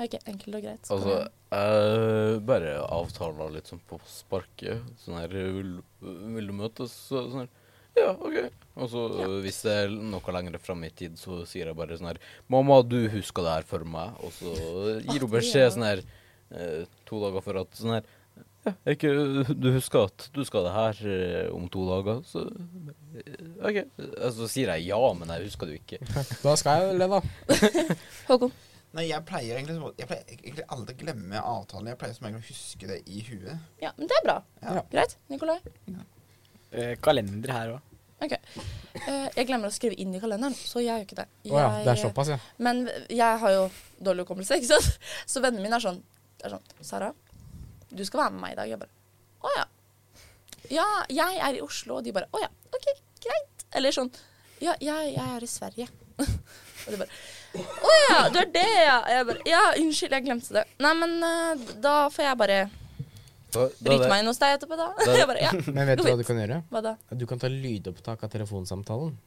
Speaker 1: OK, enkelt og greit. Så
Speaker 3: Altså,
Speaker 1: kan
Speaker 3: jeg bare avtaler litt sånn på sparket. Sånn her Vil, vil du møtes? Så, sånn her Ja, OK. Og så øh, hvis det er noe lenger fram i tid, så sier jeg bare sånn her Mamma, du husker det her for meg. Og så gir
Speaker 1: det
Speaker 3: hun beskjed
Speaker 1: gjør
Speaker 3: sånn her eh, to dager før at sånn her ja, er ikke, du husker at du skal det her eh, om to dager, så eh, OK. Altså, så sier jeg ja, men jeg husker det jo ikke.
Speaker 2: Da skal jeg le, da.
Speaker 1: jeg- Håkon.
Speaker 4: Nei, jeg pleier egentlig, så- jeg pleier egentlig aldri å glemme avtalen. Jeg pleier som regel å huske det i huet.
Speaker 1: Ja, men det er bra.
Speaker 4: Ja.
Speaker 1: Greit. Nikolai.
Speaker 5: Eh, kalender her òg.
Speaker 1: OK. Eh, jeg glemmer å skrive inn i kalenderen, så jeg gjør ikke det.
Speaker 2: Å ja, det er
Speaker 1: Jeg-
Speaker 2: såpass, ja.
Speaker 1: Men jeg har jo dårlig hukommelse, ikke sant? Så vennene mine er sånn, er sånn Sara, du skal være med meg i dag. Jeg bare Å ja. Ja, jeg er i Oslo. Og de bare Å ja, OK, greit. Eller sånn Ja, jeg, jeg er i Sverige. og de bare Å ja, du er det, ja. Jeg bare Ja, unnskyld, jeg glemte det. Nei, men eh, da får jeg bare
Speaker 3: Da, da,
Speaker 1: bryte
Speaker 3: det,
Speaker 1: meg inn hos deg etterpå, da.
Speaker 3: Da-
Speaker 1: jeg bare Ja,
Speaker 2: Men vet du hva du kan gjøre?
Speaker 1: hva da?
Speaker 2: Du kan ta lydopptak av telefonsamtalen.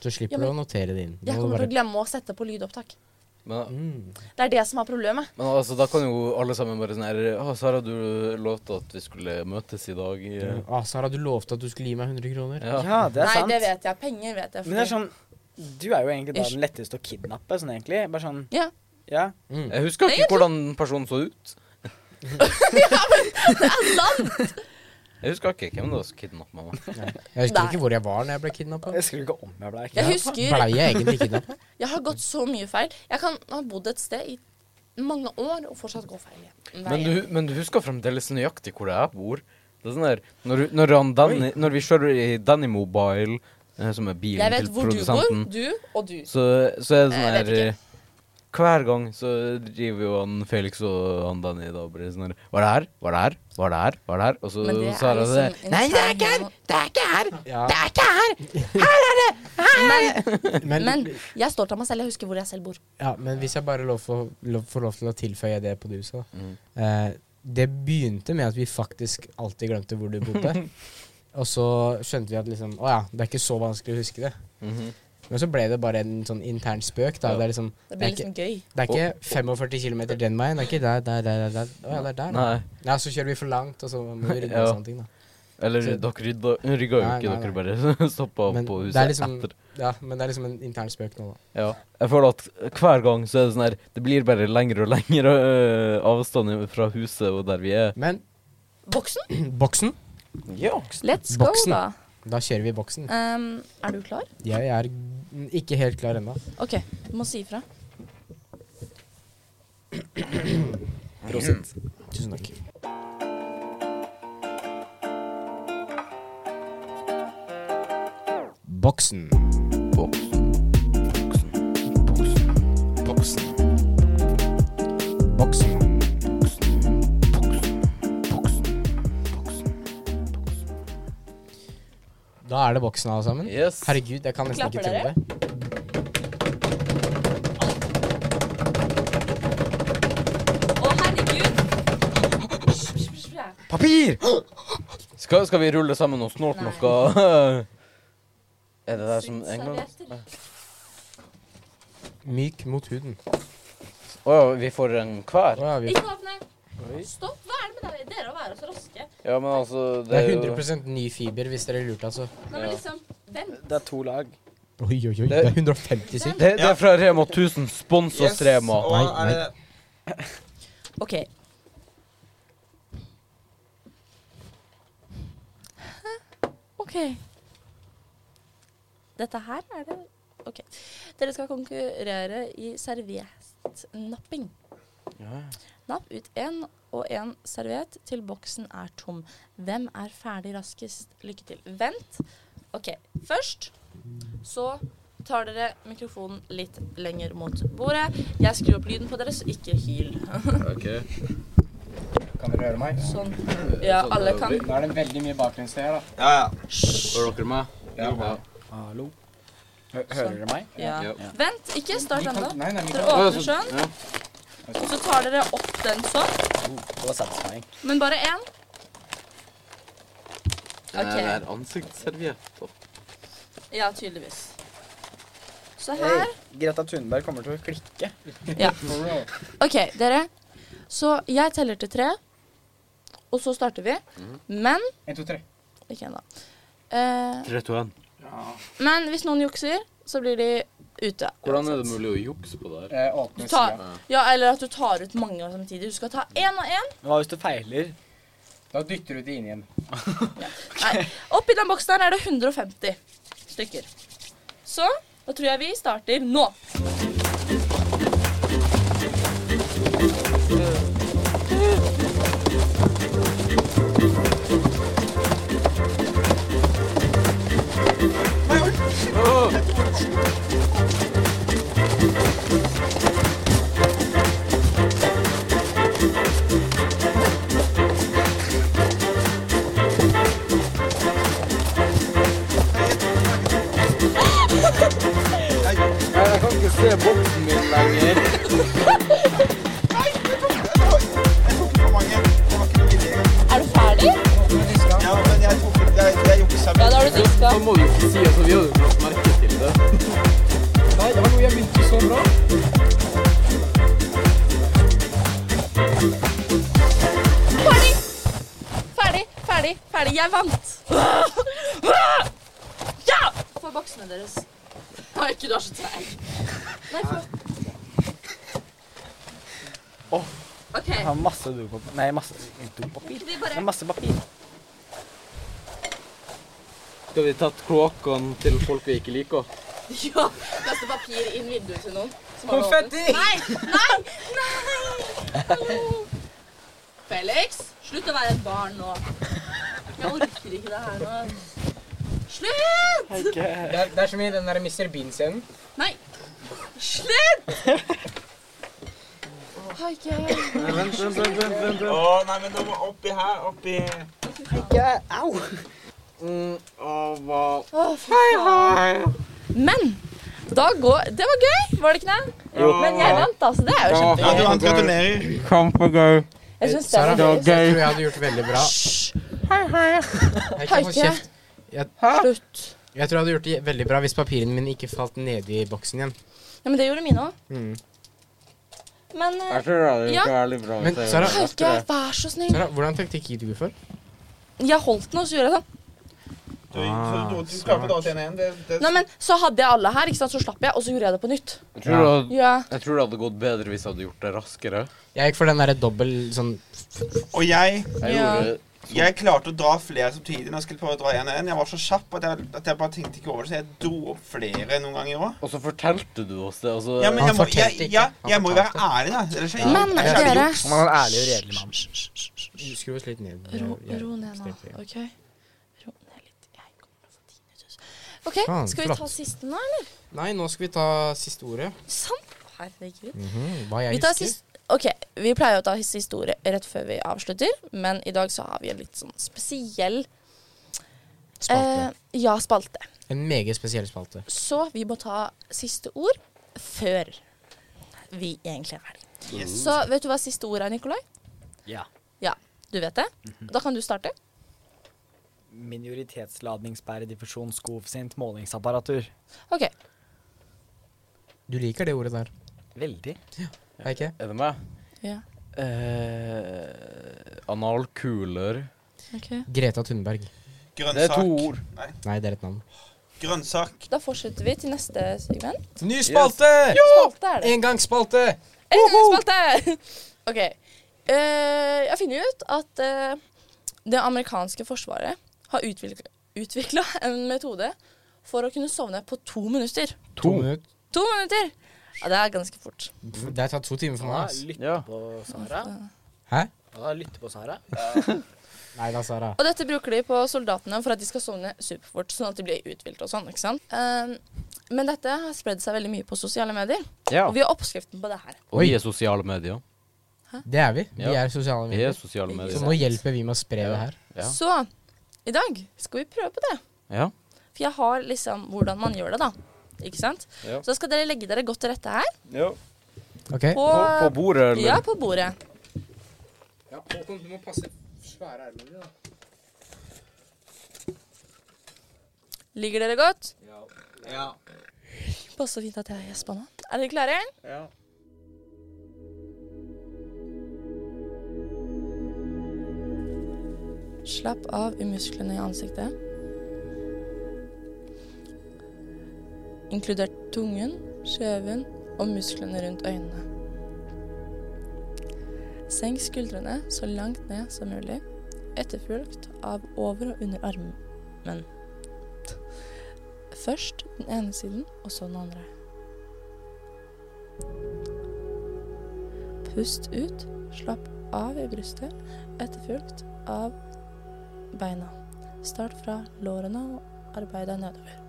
Speaker 2: Så slipper
Speaker 1: Ja, men-
Speaker 2: du å notere det inn.
Speaker 1: Jeg
Speaker 2: Nå
Speaker 1: kommer til å
Speaker 2: bare-
Speaker 1: glemme å sette på lydopptak.
Speaker 3: men,
Speaker 2: Mm.
Speaker 1: Det er det som er problemet.
Speaker 3: Men altså, da kan jo alle sammen bare sånn her Å, Sara, du lovte at vi skulle møtes i dag. i, eh,
Speaker 2: Ah, Sara, du lovte at du skulle gi meg 100 kroner.
Speaker 3: Ja.
Speaker 5: Ja, det er
Speaker 1: Nei,
Speaker 5: sant.
Speaker 1: det vet jeg. Penger vet jeg.
Speaker 5: Men det er
Speaker 1: fordi-
Speaker 5: sånn Du er jo egentlig da
Speaker 1: Ish.
Speaker 5: den letteste å kidnappe, sånn egentlig. Bare sånn
Speaker 1: Ja.
Speaker 5: Ja.
Speaker 2: Mm.
Speaker 3: Jeg husker ikke hvordan personen så ut. Jeg husker ikke hvem det var som kidnappet meg.
Speaker 2: Jeg husker
Speaker 1: Nei.
Speaker 2: ikke hvor jeg var når jeg ble kidnappa.
Speaker 5: Jeg husker ikke om jeg ble
Speaker 1: Jeg
Speaker 5: kidnappet.
Speaker 1: husker
Speaker 2: Blei jeg egentlig kidnappa?
Speaker 1: Jeg har gått så mye feil. Jeg kan ha bodd et sted i mange år og fortsatt gå feil. igjen.
Speaker 3: Men
Speaker 1: Nei.
Speaker 3: du, men du husker fremdeles nøyaktig hvor jeg bor. Det er sånn der, når, du- når, han Danny, når vi kjører i Danny Mobile, eh, som er bilen
Speaker 1: jeg vet
Speaker 3: til
Speaker 1: hvor du bor.
Speaker 3: produsenten,
Speaker 1: Du og du.
Speaker 3: så, så er det sånn
Speaker 1: Jeg vet
Speaker 3: her eh, Hver gang så driver jo han Felix og han Danny da bare sånn her Var det her? Var det her? Var det her? Var det her? Og så
Speaker 1: Men det er
Speaker 3: Sara det
Speaker 1: liksom en Nei, det er ikke her!
Speaker 6: Det er ikke her!
Speaker 2: Ja.
Speaker 6: er ikke her!
Speaker 1: Men,
Speaker 2: Men,
Speaker 1: men jeg står til meg selv. Jeg husker hvor jeg selv bor.
Speaker 2: ja, men hvis jeg bare lov for, lov, får lov til å tilføye det på du sa
Speaker 3: Mm.
Speaker 2: eh, Det begynte med at vi faktisk alltid glemte hvor du bodde. Og så skjønte vi at liksom, å ja, det er ikke så vanskelig å huske det.
Speaker 3: Mhm.
Speaker 2: Men så ble det bare en sånn intern spøk. da.
Speaker 3: Ja.
Speaker 2: Det er liksom,
Speaker 1: Det
Speaker 2: det
Speaker 1: blir
Speaker 2: er ikke,
Speaker 1: liksom gøy.
Speaker 2: det er ikke 45 km den veien. Det er ikke der, der, der, der. der. Å ja, det er der. da.
Speaker 3: Nei.
Speaker 2: Ja, så kjører vi for langt, og så må vi rydde
Speaker 3: Ja.
Speaker 2: og sånne ting, da.
Speaker 3: Eller
Speaker 2: Så-
Speaker 3: dere rydda, rygga jo
Speaker 2: Nei,
Speaker 3: ikke,
Speaker 2: nei,
Speaker 3: dere bare stoppa
Speaker 2: Men
Speaker 3: på
Speaker 2: det er
Speaker 3: huset
Speaker 2: liksom,
Speaker 3: etter.
Speaker 2: ja, men det er liksom en intern spøk nå, da.
Speaker 3: Ja. Jeg føler at hver gang så er det sånn her Det blir bare lengre og lengre øh, avstand fra huset og der vi er.
Speaker 2: Men
Speaker 1: Boksen?
Speaker 2: boksen,
Speaker 3: Ja.
Speaker 1: Let's go,
Speaker 2: Boksen.
Speaker 1: da.
Speaker 2: da kjører vi boksen.
Speaker 1: Um, er du klar?
Speaker 2: Jeg er g- ikke helt klar ennå.
Speaker 1: OK, du må si ifra.
Speaker 5: Prosit.
Speaker 2: Tusen takk. Boksen. Boksen. Da er det boksen, alle sammen.
Speaker 3: Yes.
Speaker 2: Herregud, jeg kan nesten ikke
Speaker 1: Klapper dere?
Speaker 2: tro det.
Speaker 1: Å, herregud! Hysj, hysj, hysj.
Speaker 3: Papir! Skal, skal vi rulle sammen og snorte
Speaker 1: Nei.
Speaker 3: noe? er det der som engang Å
Speaker 2: Myk mot huden.
Speaker 3: ja, vi får en hver?
Speaker 2: Å, ja, vi,
Speaker 1: Ikke åpne! Stopp! Hva er det med dere? Dere å være så raske.
Speaker 3: Ja, men altså
Speaker 2: det er
Speaker 3: jo-
Speaker 2: 100 ny fiber, hvis dere lurte, altså.
Speaker 1: Nei, men liksom, vent.
Speaker 5: Det er to lag.
Speaker 2: Oi, oi, oi.
Speaker 3: Det
Speaker 2: Det
Speaker 3: er
Speaker 2: er 150
Speaker 1: syk.
Speaker 2: sykt.
Speaker 3: det, det er fra Rema 1000. Spons oss,
Speaker 4: Yes,
Speaker 3: Rema.
Speaker 4: og
Speaker 2: Nei,
Speaker 4: er det-
Speaker 1: OK. OK. Dette her er det OK. Dere skal konkurrere i serviettnapping.
Speaker 3: Ja.
Speaker 1: Napp ut én og én serviett til boksen er tom. Hvem er ferdig raskest? Lykke til. Vent. OK. Først så tar dere mikrofonen litt lenger mot bordet. Jeg skrur opp lyden på dere, så ikke hyl.
Speaker 2: Kan dere høre meg?
Speaker 1: Sånn. Ja, alle kan.
Speaker 2: Da er det veldig mye baklengs her, da.
Speaker 4: Ja, ja.
Speaker 3: Hører dere meg? Ja.
Speaker 5: Hallo. Hø hører dere meg?
Speaker 1: Ja.
Speaker 3: Ja.
Speaker 1: Vent, ikke start ennå.
Speaker 2: Nei, nei,
Speaker 1: Dere åpner sånn, og så tar dere opp den sånn.
Speaker 5: Oh, det var satisfying.
Speaker 1: Men bare én. Ok.
Speaker 3: ansiktsservietter.
Speaker 1: Ja, tydeligvis. Så her
Speaker 5: Greta Thunberg kommer til å klikke.
Speaker 1: OK, dere. Så jeg teller til tre, og så starter vi. Men
Speaker 5: En, to, tre.
Speaker 1: Ikke ennå. Eh,
Speaker 3: 3, 2, 1.
Speaker 1: men hvis noen jukser, så blir de ute.
Speaker 3: Hvordan er det mulig å jukse på det her?
Speaker 5: Eh,
Speaker 1: Du
Speaker 5: åpne
Speaker 1: tar,
Speaker 5: sida.
Speaker 1: ja, eller at du tar ut mange samtidig. Du skal ta én og én.
Speaker 5: Hva hvis du feiler?
Speaker 2: Da dytter du det inn igjen.
Speaker 1: Nei, Oppi den boksen her er det 150 stykker. Så da tror jeg vi starter nå.
Speaker 3: Jeg kan ikke se boksen min lenger.
Speaker 1: Er du ferdig?
Speaker 4: Ja, men jeg tok Jeg, jeg juksa
Speaker 1: Ja, da har du diska.
Speaker 3: Da må du ikke si altså, vi hadde jo lagt merke til det.
Speaker 5: Nei, hallo, jeg begynte
Speaker 3: sånn
Speaker 5: så bra.
Speaker 1: Ferdig! Ferdig, ferdig, ferdig. Jeg vant. Ja! Få boksene deres. Nei, ikke du er så treig. Nei, få.
Speaker 5: Åh.
Speaker 1: OK.
Speaker 5: Jeg har masse dopapir. Nei, masse dopapir.
Speaker 1: Ikke de
Speaker 5: Jeg har
Speaker 1: bare
Speaker 5: masse papir.
Speaker 3: Skal vi tatt kloakkene til folk vi ikke liker?
Speaker 1: Ja, kaste papir inn vinduet til noen. som har det åpent. Nei! Nei! Nei! Hallo! Felix, slutt å være et barn nå. Jeg orker ikke det her nå. Slutt!
Speaker 2: Det er, det er som i den der Mr. Bean-scenen.
Speaker 1: Nei! Slutt! Haike.
Speaker 4: Å, nei, men da må oppi her, oppi Mm,
Speaker 1: Men da går Det var gøy, var det ikke det? Men jeg vant, da, så det er jo
Speaker 4: Ja, du
Speaker 1: kjempegøy.
Speaker 4: vant. Gratulerer.
Speaker 1: Jeg synes det
Speaker 2: Sara,
Speaker 1: var
Speaker 2: jeg
Speaker 1: gøy.
Speaker 2: tror jeg hadde gjort veldig bra. Hei, hei.
Speaker 1: Haike. Slutt.
Speaker 2: Jeg tror jeg hadde gjort det veldig bra hvis papirene mine ikke falt nedi boksen igjen.
Speaker 1: Ja, men det gjorde mine òg.
Speaker 2: Mm.
Speaker 1: Men eh,
Speaker 3: tror det hadde
Speaker 1: Ja.
Speaker 3: jævlig bra.
Speaker 2: Men Sara,
Speaker 1: Haike, vær så snill.
Speaker 2: Sara, hvordan taktikk gikk du for?
Speaker 1: Jeg holdt den, og så gjorde jeg sånn.
Speaker 4: Du, så du, du klarte da til en igjen. Det, det,
Speaker 1: Nei, men Så hadde jeg alle her, ikke sant? så slapp jeg, og så gjorde jeg det på nytt.
Speaker 3: Jeg tror, det hadde,
Speaker 1: Ja.
Speaker 3: jeg tror det hadde gått bedre hvis jeg hadde gjort det raskere.
Speaker 2: Jeg gikk for den derre dobbel sånn
Speaker 4: Og jeg
Speaker 3: Jeg
Speaker 1: Ja.
Speaker 3: gjorde
Speaker 4: Jeg klarte å dra flere samtidig når jeg skulle prøve å dra én og én. Jeg var så kjapp at jeg, at jeg bare tenkte ikke over det, så jeg dro opp flere noen ganger òg.
Speaker 3: Og så fortalte du oss det. og så-
Speaker 4: Ja, men jeg må,
Speaker 2: fortalte
Speaker 4: jeg,
Speaker 2: ikke.
Speaker 4: ja,
Speaker 2: Han
Speaker 4: jeg må jo være
Speaker 2: fortalte.
Speaker 4: ærlig, da. Ellers er
Speaker 1: Men
Speaker 4: jeg, jeg,
Speaker 1: dere,
Speaker 5: Om man er ærlig og redelig med ham.
Speaker 2: Skru oss litt ned.
Speaker 1: ro,
Speaker 2: Jeg-
Speaker 1: ro ned nå,
Speaker 2: slipper jeg.
Speaker 1: OK? Ro ned litt. Jeg kommer til å få tinnitus. OK,
Speaker 2: Faen,
Speaker 1: skal vi
Speaker 2: flott.
Speaker 1: ta siste nå, eller?
Speaker 2: Nei, nå skal vi ta siste ordet.
Speaker 1: Sant? Herregud.
Speaker 2: Mhm, hva jeg
Speaker 1: Vi tar
Speaker 2: husker.
Speaker 1: sist Ok, vi pleier å ta his- historie rett før vi avslutter, men i dag så har vi en litt sånn spesiell Eh,
Speaker 2: Spalte.
Speaker 1: ja, spalte.
Speaker 2: En meget spesiell spalte.
Speaker 1: Så vi må ta siste ord før vi egentlig er ferdig.
Speaker 4: yes.
Speaker 1: Så vet du hva siste ord er, Nikolai?
Speaker 5: Ja.
Speaker 1: Ja, du vet det?
Speaker 2: Mhm.
Speaker 1: Da kan du starte.
Speaker 5: Minoritetsladningsbære, diffusjon, skofsint, målingsapparatur.
Speaker 1: OK.
Speaker 2: Du liker det ordet der.
Speaker 5: Veldig.
Speaker 2: Er ikke?
Speaker 3: Er det meg?
Speaker 1: Ja,
Speaker 3: Eh, Analkuler.
Speaker 1: ok.
Speaker 2: Greta Thunberg.
Speaker 3: Det er
Speaker 4: Grønnsak.
Speaker 3: to ord.
Speaker 4: Nei.
Speaker 2: Nei, det er et navn.
Speaker 4: Grønnsak.
Speaker 1: Da fortsetter vi til neste segment.
Speaker 2: Ny spalte!
Speaker 1: Spalte er det.
Speaker 2: Engangsspalte!
Speaker 1: En spalte! OK. Eh, jeg finner ut at eh, det amerikanske forsvaret har utvikla en metode for å kunne sovne på to minutter.
Speaker 2: To minutter.
Speaker 1: To minutter! Ja, det er ganske fort. Eh,
Speaker 2: Pff, Det har tatt to timer for meg. ass.
Speaker 3: Ja.
Speaker 5: på Sara.
Speaker 2: Hæ?
Speaker 5: Lytte på Sara.
Speaker 2: Nei da, Sara.
Speaker 1: Og dette bruker de på soldatene for at de skal sovne superfort, sånn at de blir uthvilt og sånn. ikke sant? Eh, men dette har spredd seg veldig mye på sosiale medier.
Speaker 3: Ja.
Speaker 1: Og vi har oppskriften på det her.
Speaker 3: Og vi er sosiale medier.
Speaker 2: Det er vi. Vi
Speaker 3: Ja.
Speaker 2: er sosiale
Speaker 3: Vi er
Speaker 2: medier.
Speaker 3: sosiale
Speaker 2: Så
Speaker 3: medier.
Speaker 2: nå hjelper vi med å spre det her.
Speaker 3: Ja.
Speaker 1: Så i dag skal vi prøve på det.
Speaker 3: Ja.
Speaker 1: For jeg har liksom hvordan man gjør det, da. Ikke sant?
Speaker 3: Ja.
Speaker 1: Så skal dere legge dere godt til rette her.
Speaker 2: Ok?
Speaker 1: På,
Speaker 3: På, på bordet, eller?
Speaker 1: Ja, på bordet.
Speaker 2: Ja, Håkon, du må passe svære ermene dine.
Speaker 1: Ligger dere godt?
Speaker 4: Ja.
Speaker 1: Passer fint at jeg gjespa nå. Er dere klare?
Speaker 4: Ja.
Speaker 1: Slapp av i musklene i ansiktet. Inkludert tungen, kjeven og musklene rundt øynene. Senk skuldrene så langt ned som mulig, etterfulgt av over- og underarmen. Først den ene siden, og så den andre. Pust ut, slapp av i brystet, etterfulgt av beina. Start fra lårene og arbeid deg nedover.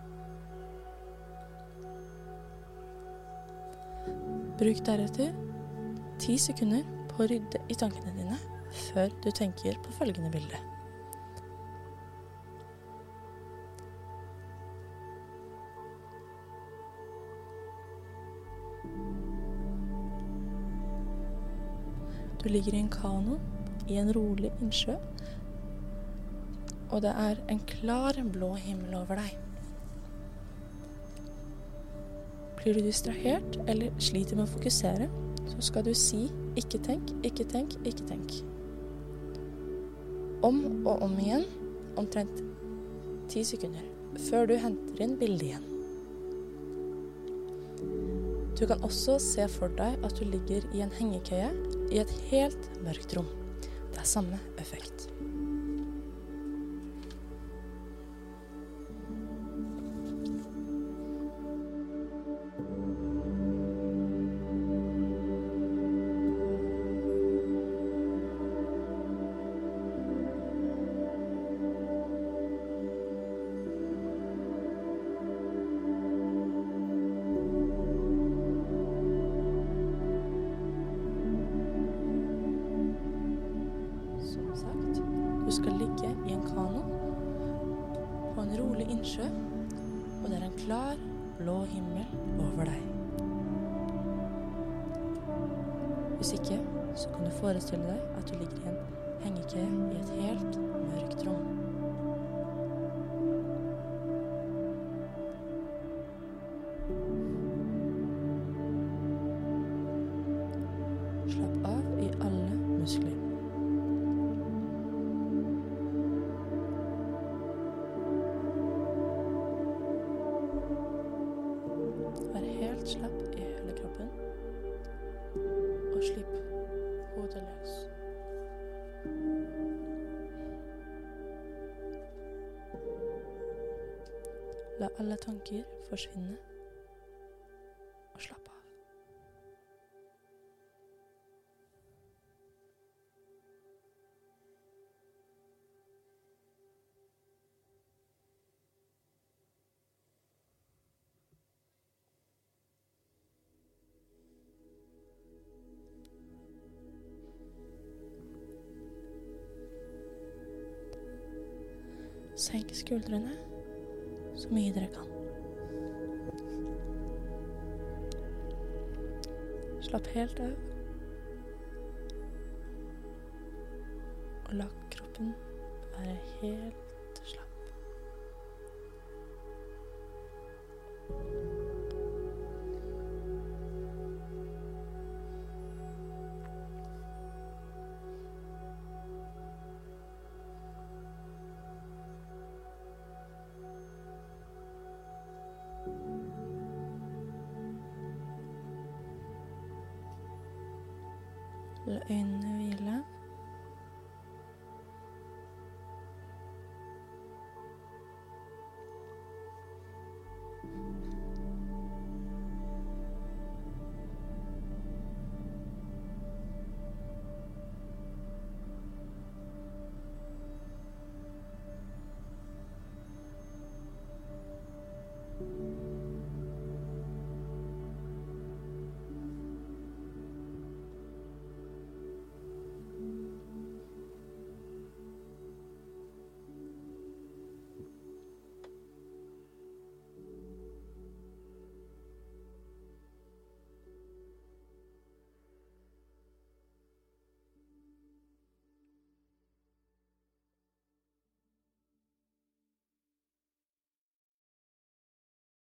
Speaker 1: Bruk deretter ti sekunder på å rydde i tankene dine før du tenker på følgende bilde. Du ligger i en kano i en rolig innsjø og det er en klar blå himmel over deg. Blir du distrahert eller sliter med å fokusere, så skal du si 'ikke tenk, ikke tenk, ikke tenk'. Om og om igjen, omtrent ti sekunder, før du henter inn bildet igjen. Du kan også se for deg at du ligger i en hengekøye i et helt mørkt rom. Det er samme effekt. Som sagt, du skal ligge i en kano på en rolig innsjø, og det er en klar, blå himmel over deg. Hvis ikke, så kan du forestille deg at du ligger i en hengekøye i et helt mørkt rom. Slapp av i alle muskler. Vær helt slapp i hele kroppen. Og slipp hodet løs. La alle tanker forsvinne, og slapp av. Senk skuldrene så mye dere kan. Slapp helt av. Og la kroppen være helt slapp. La øynene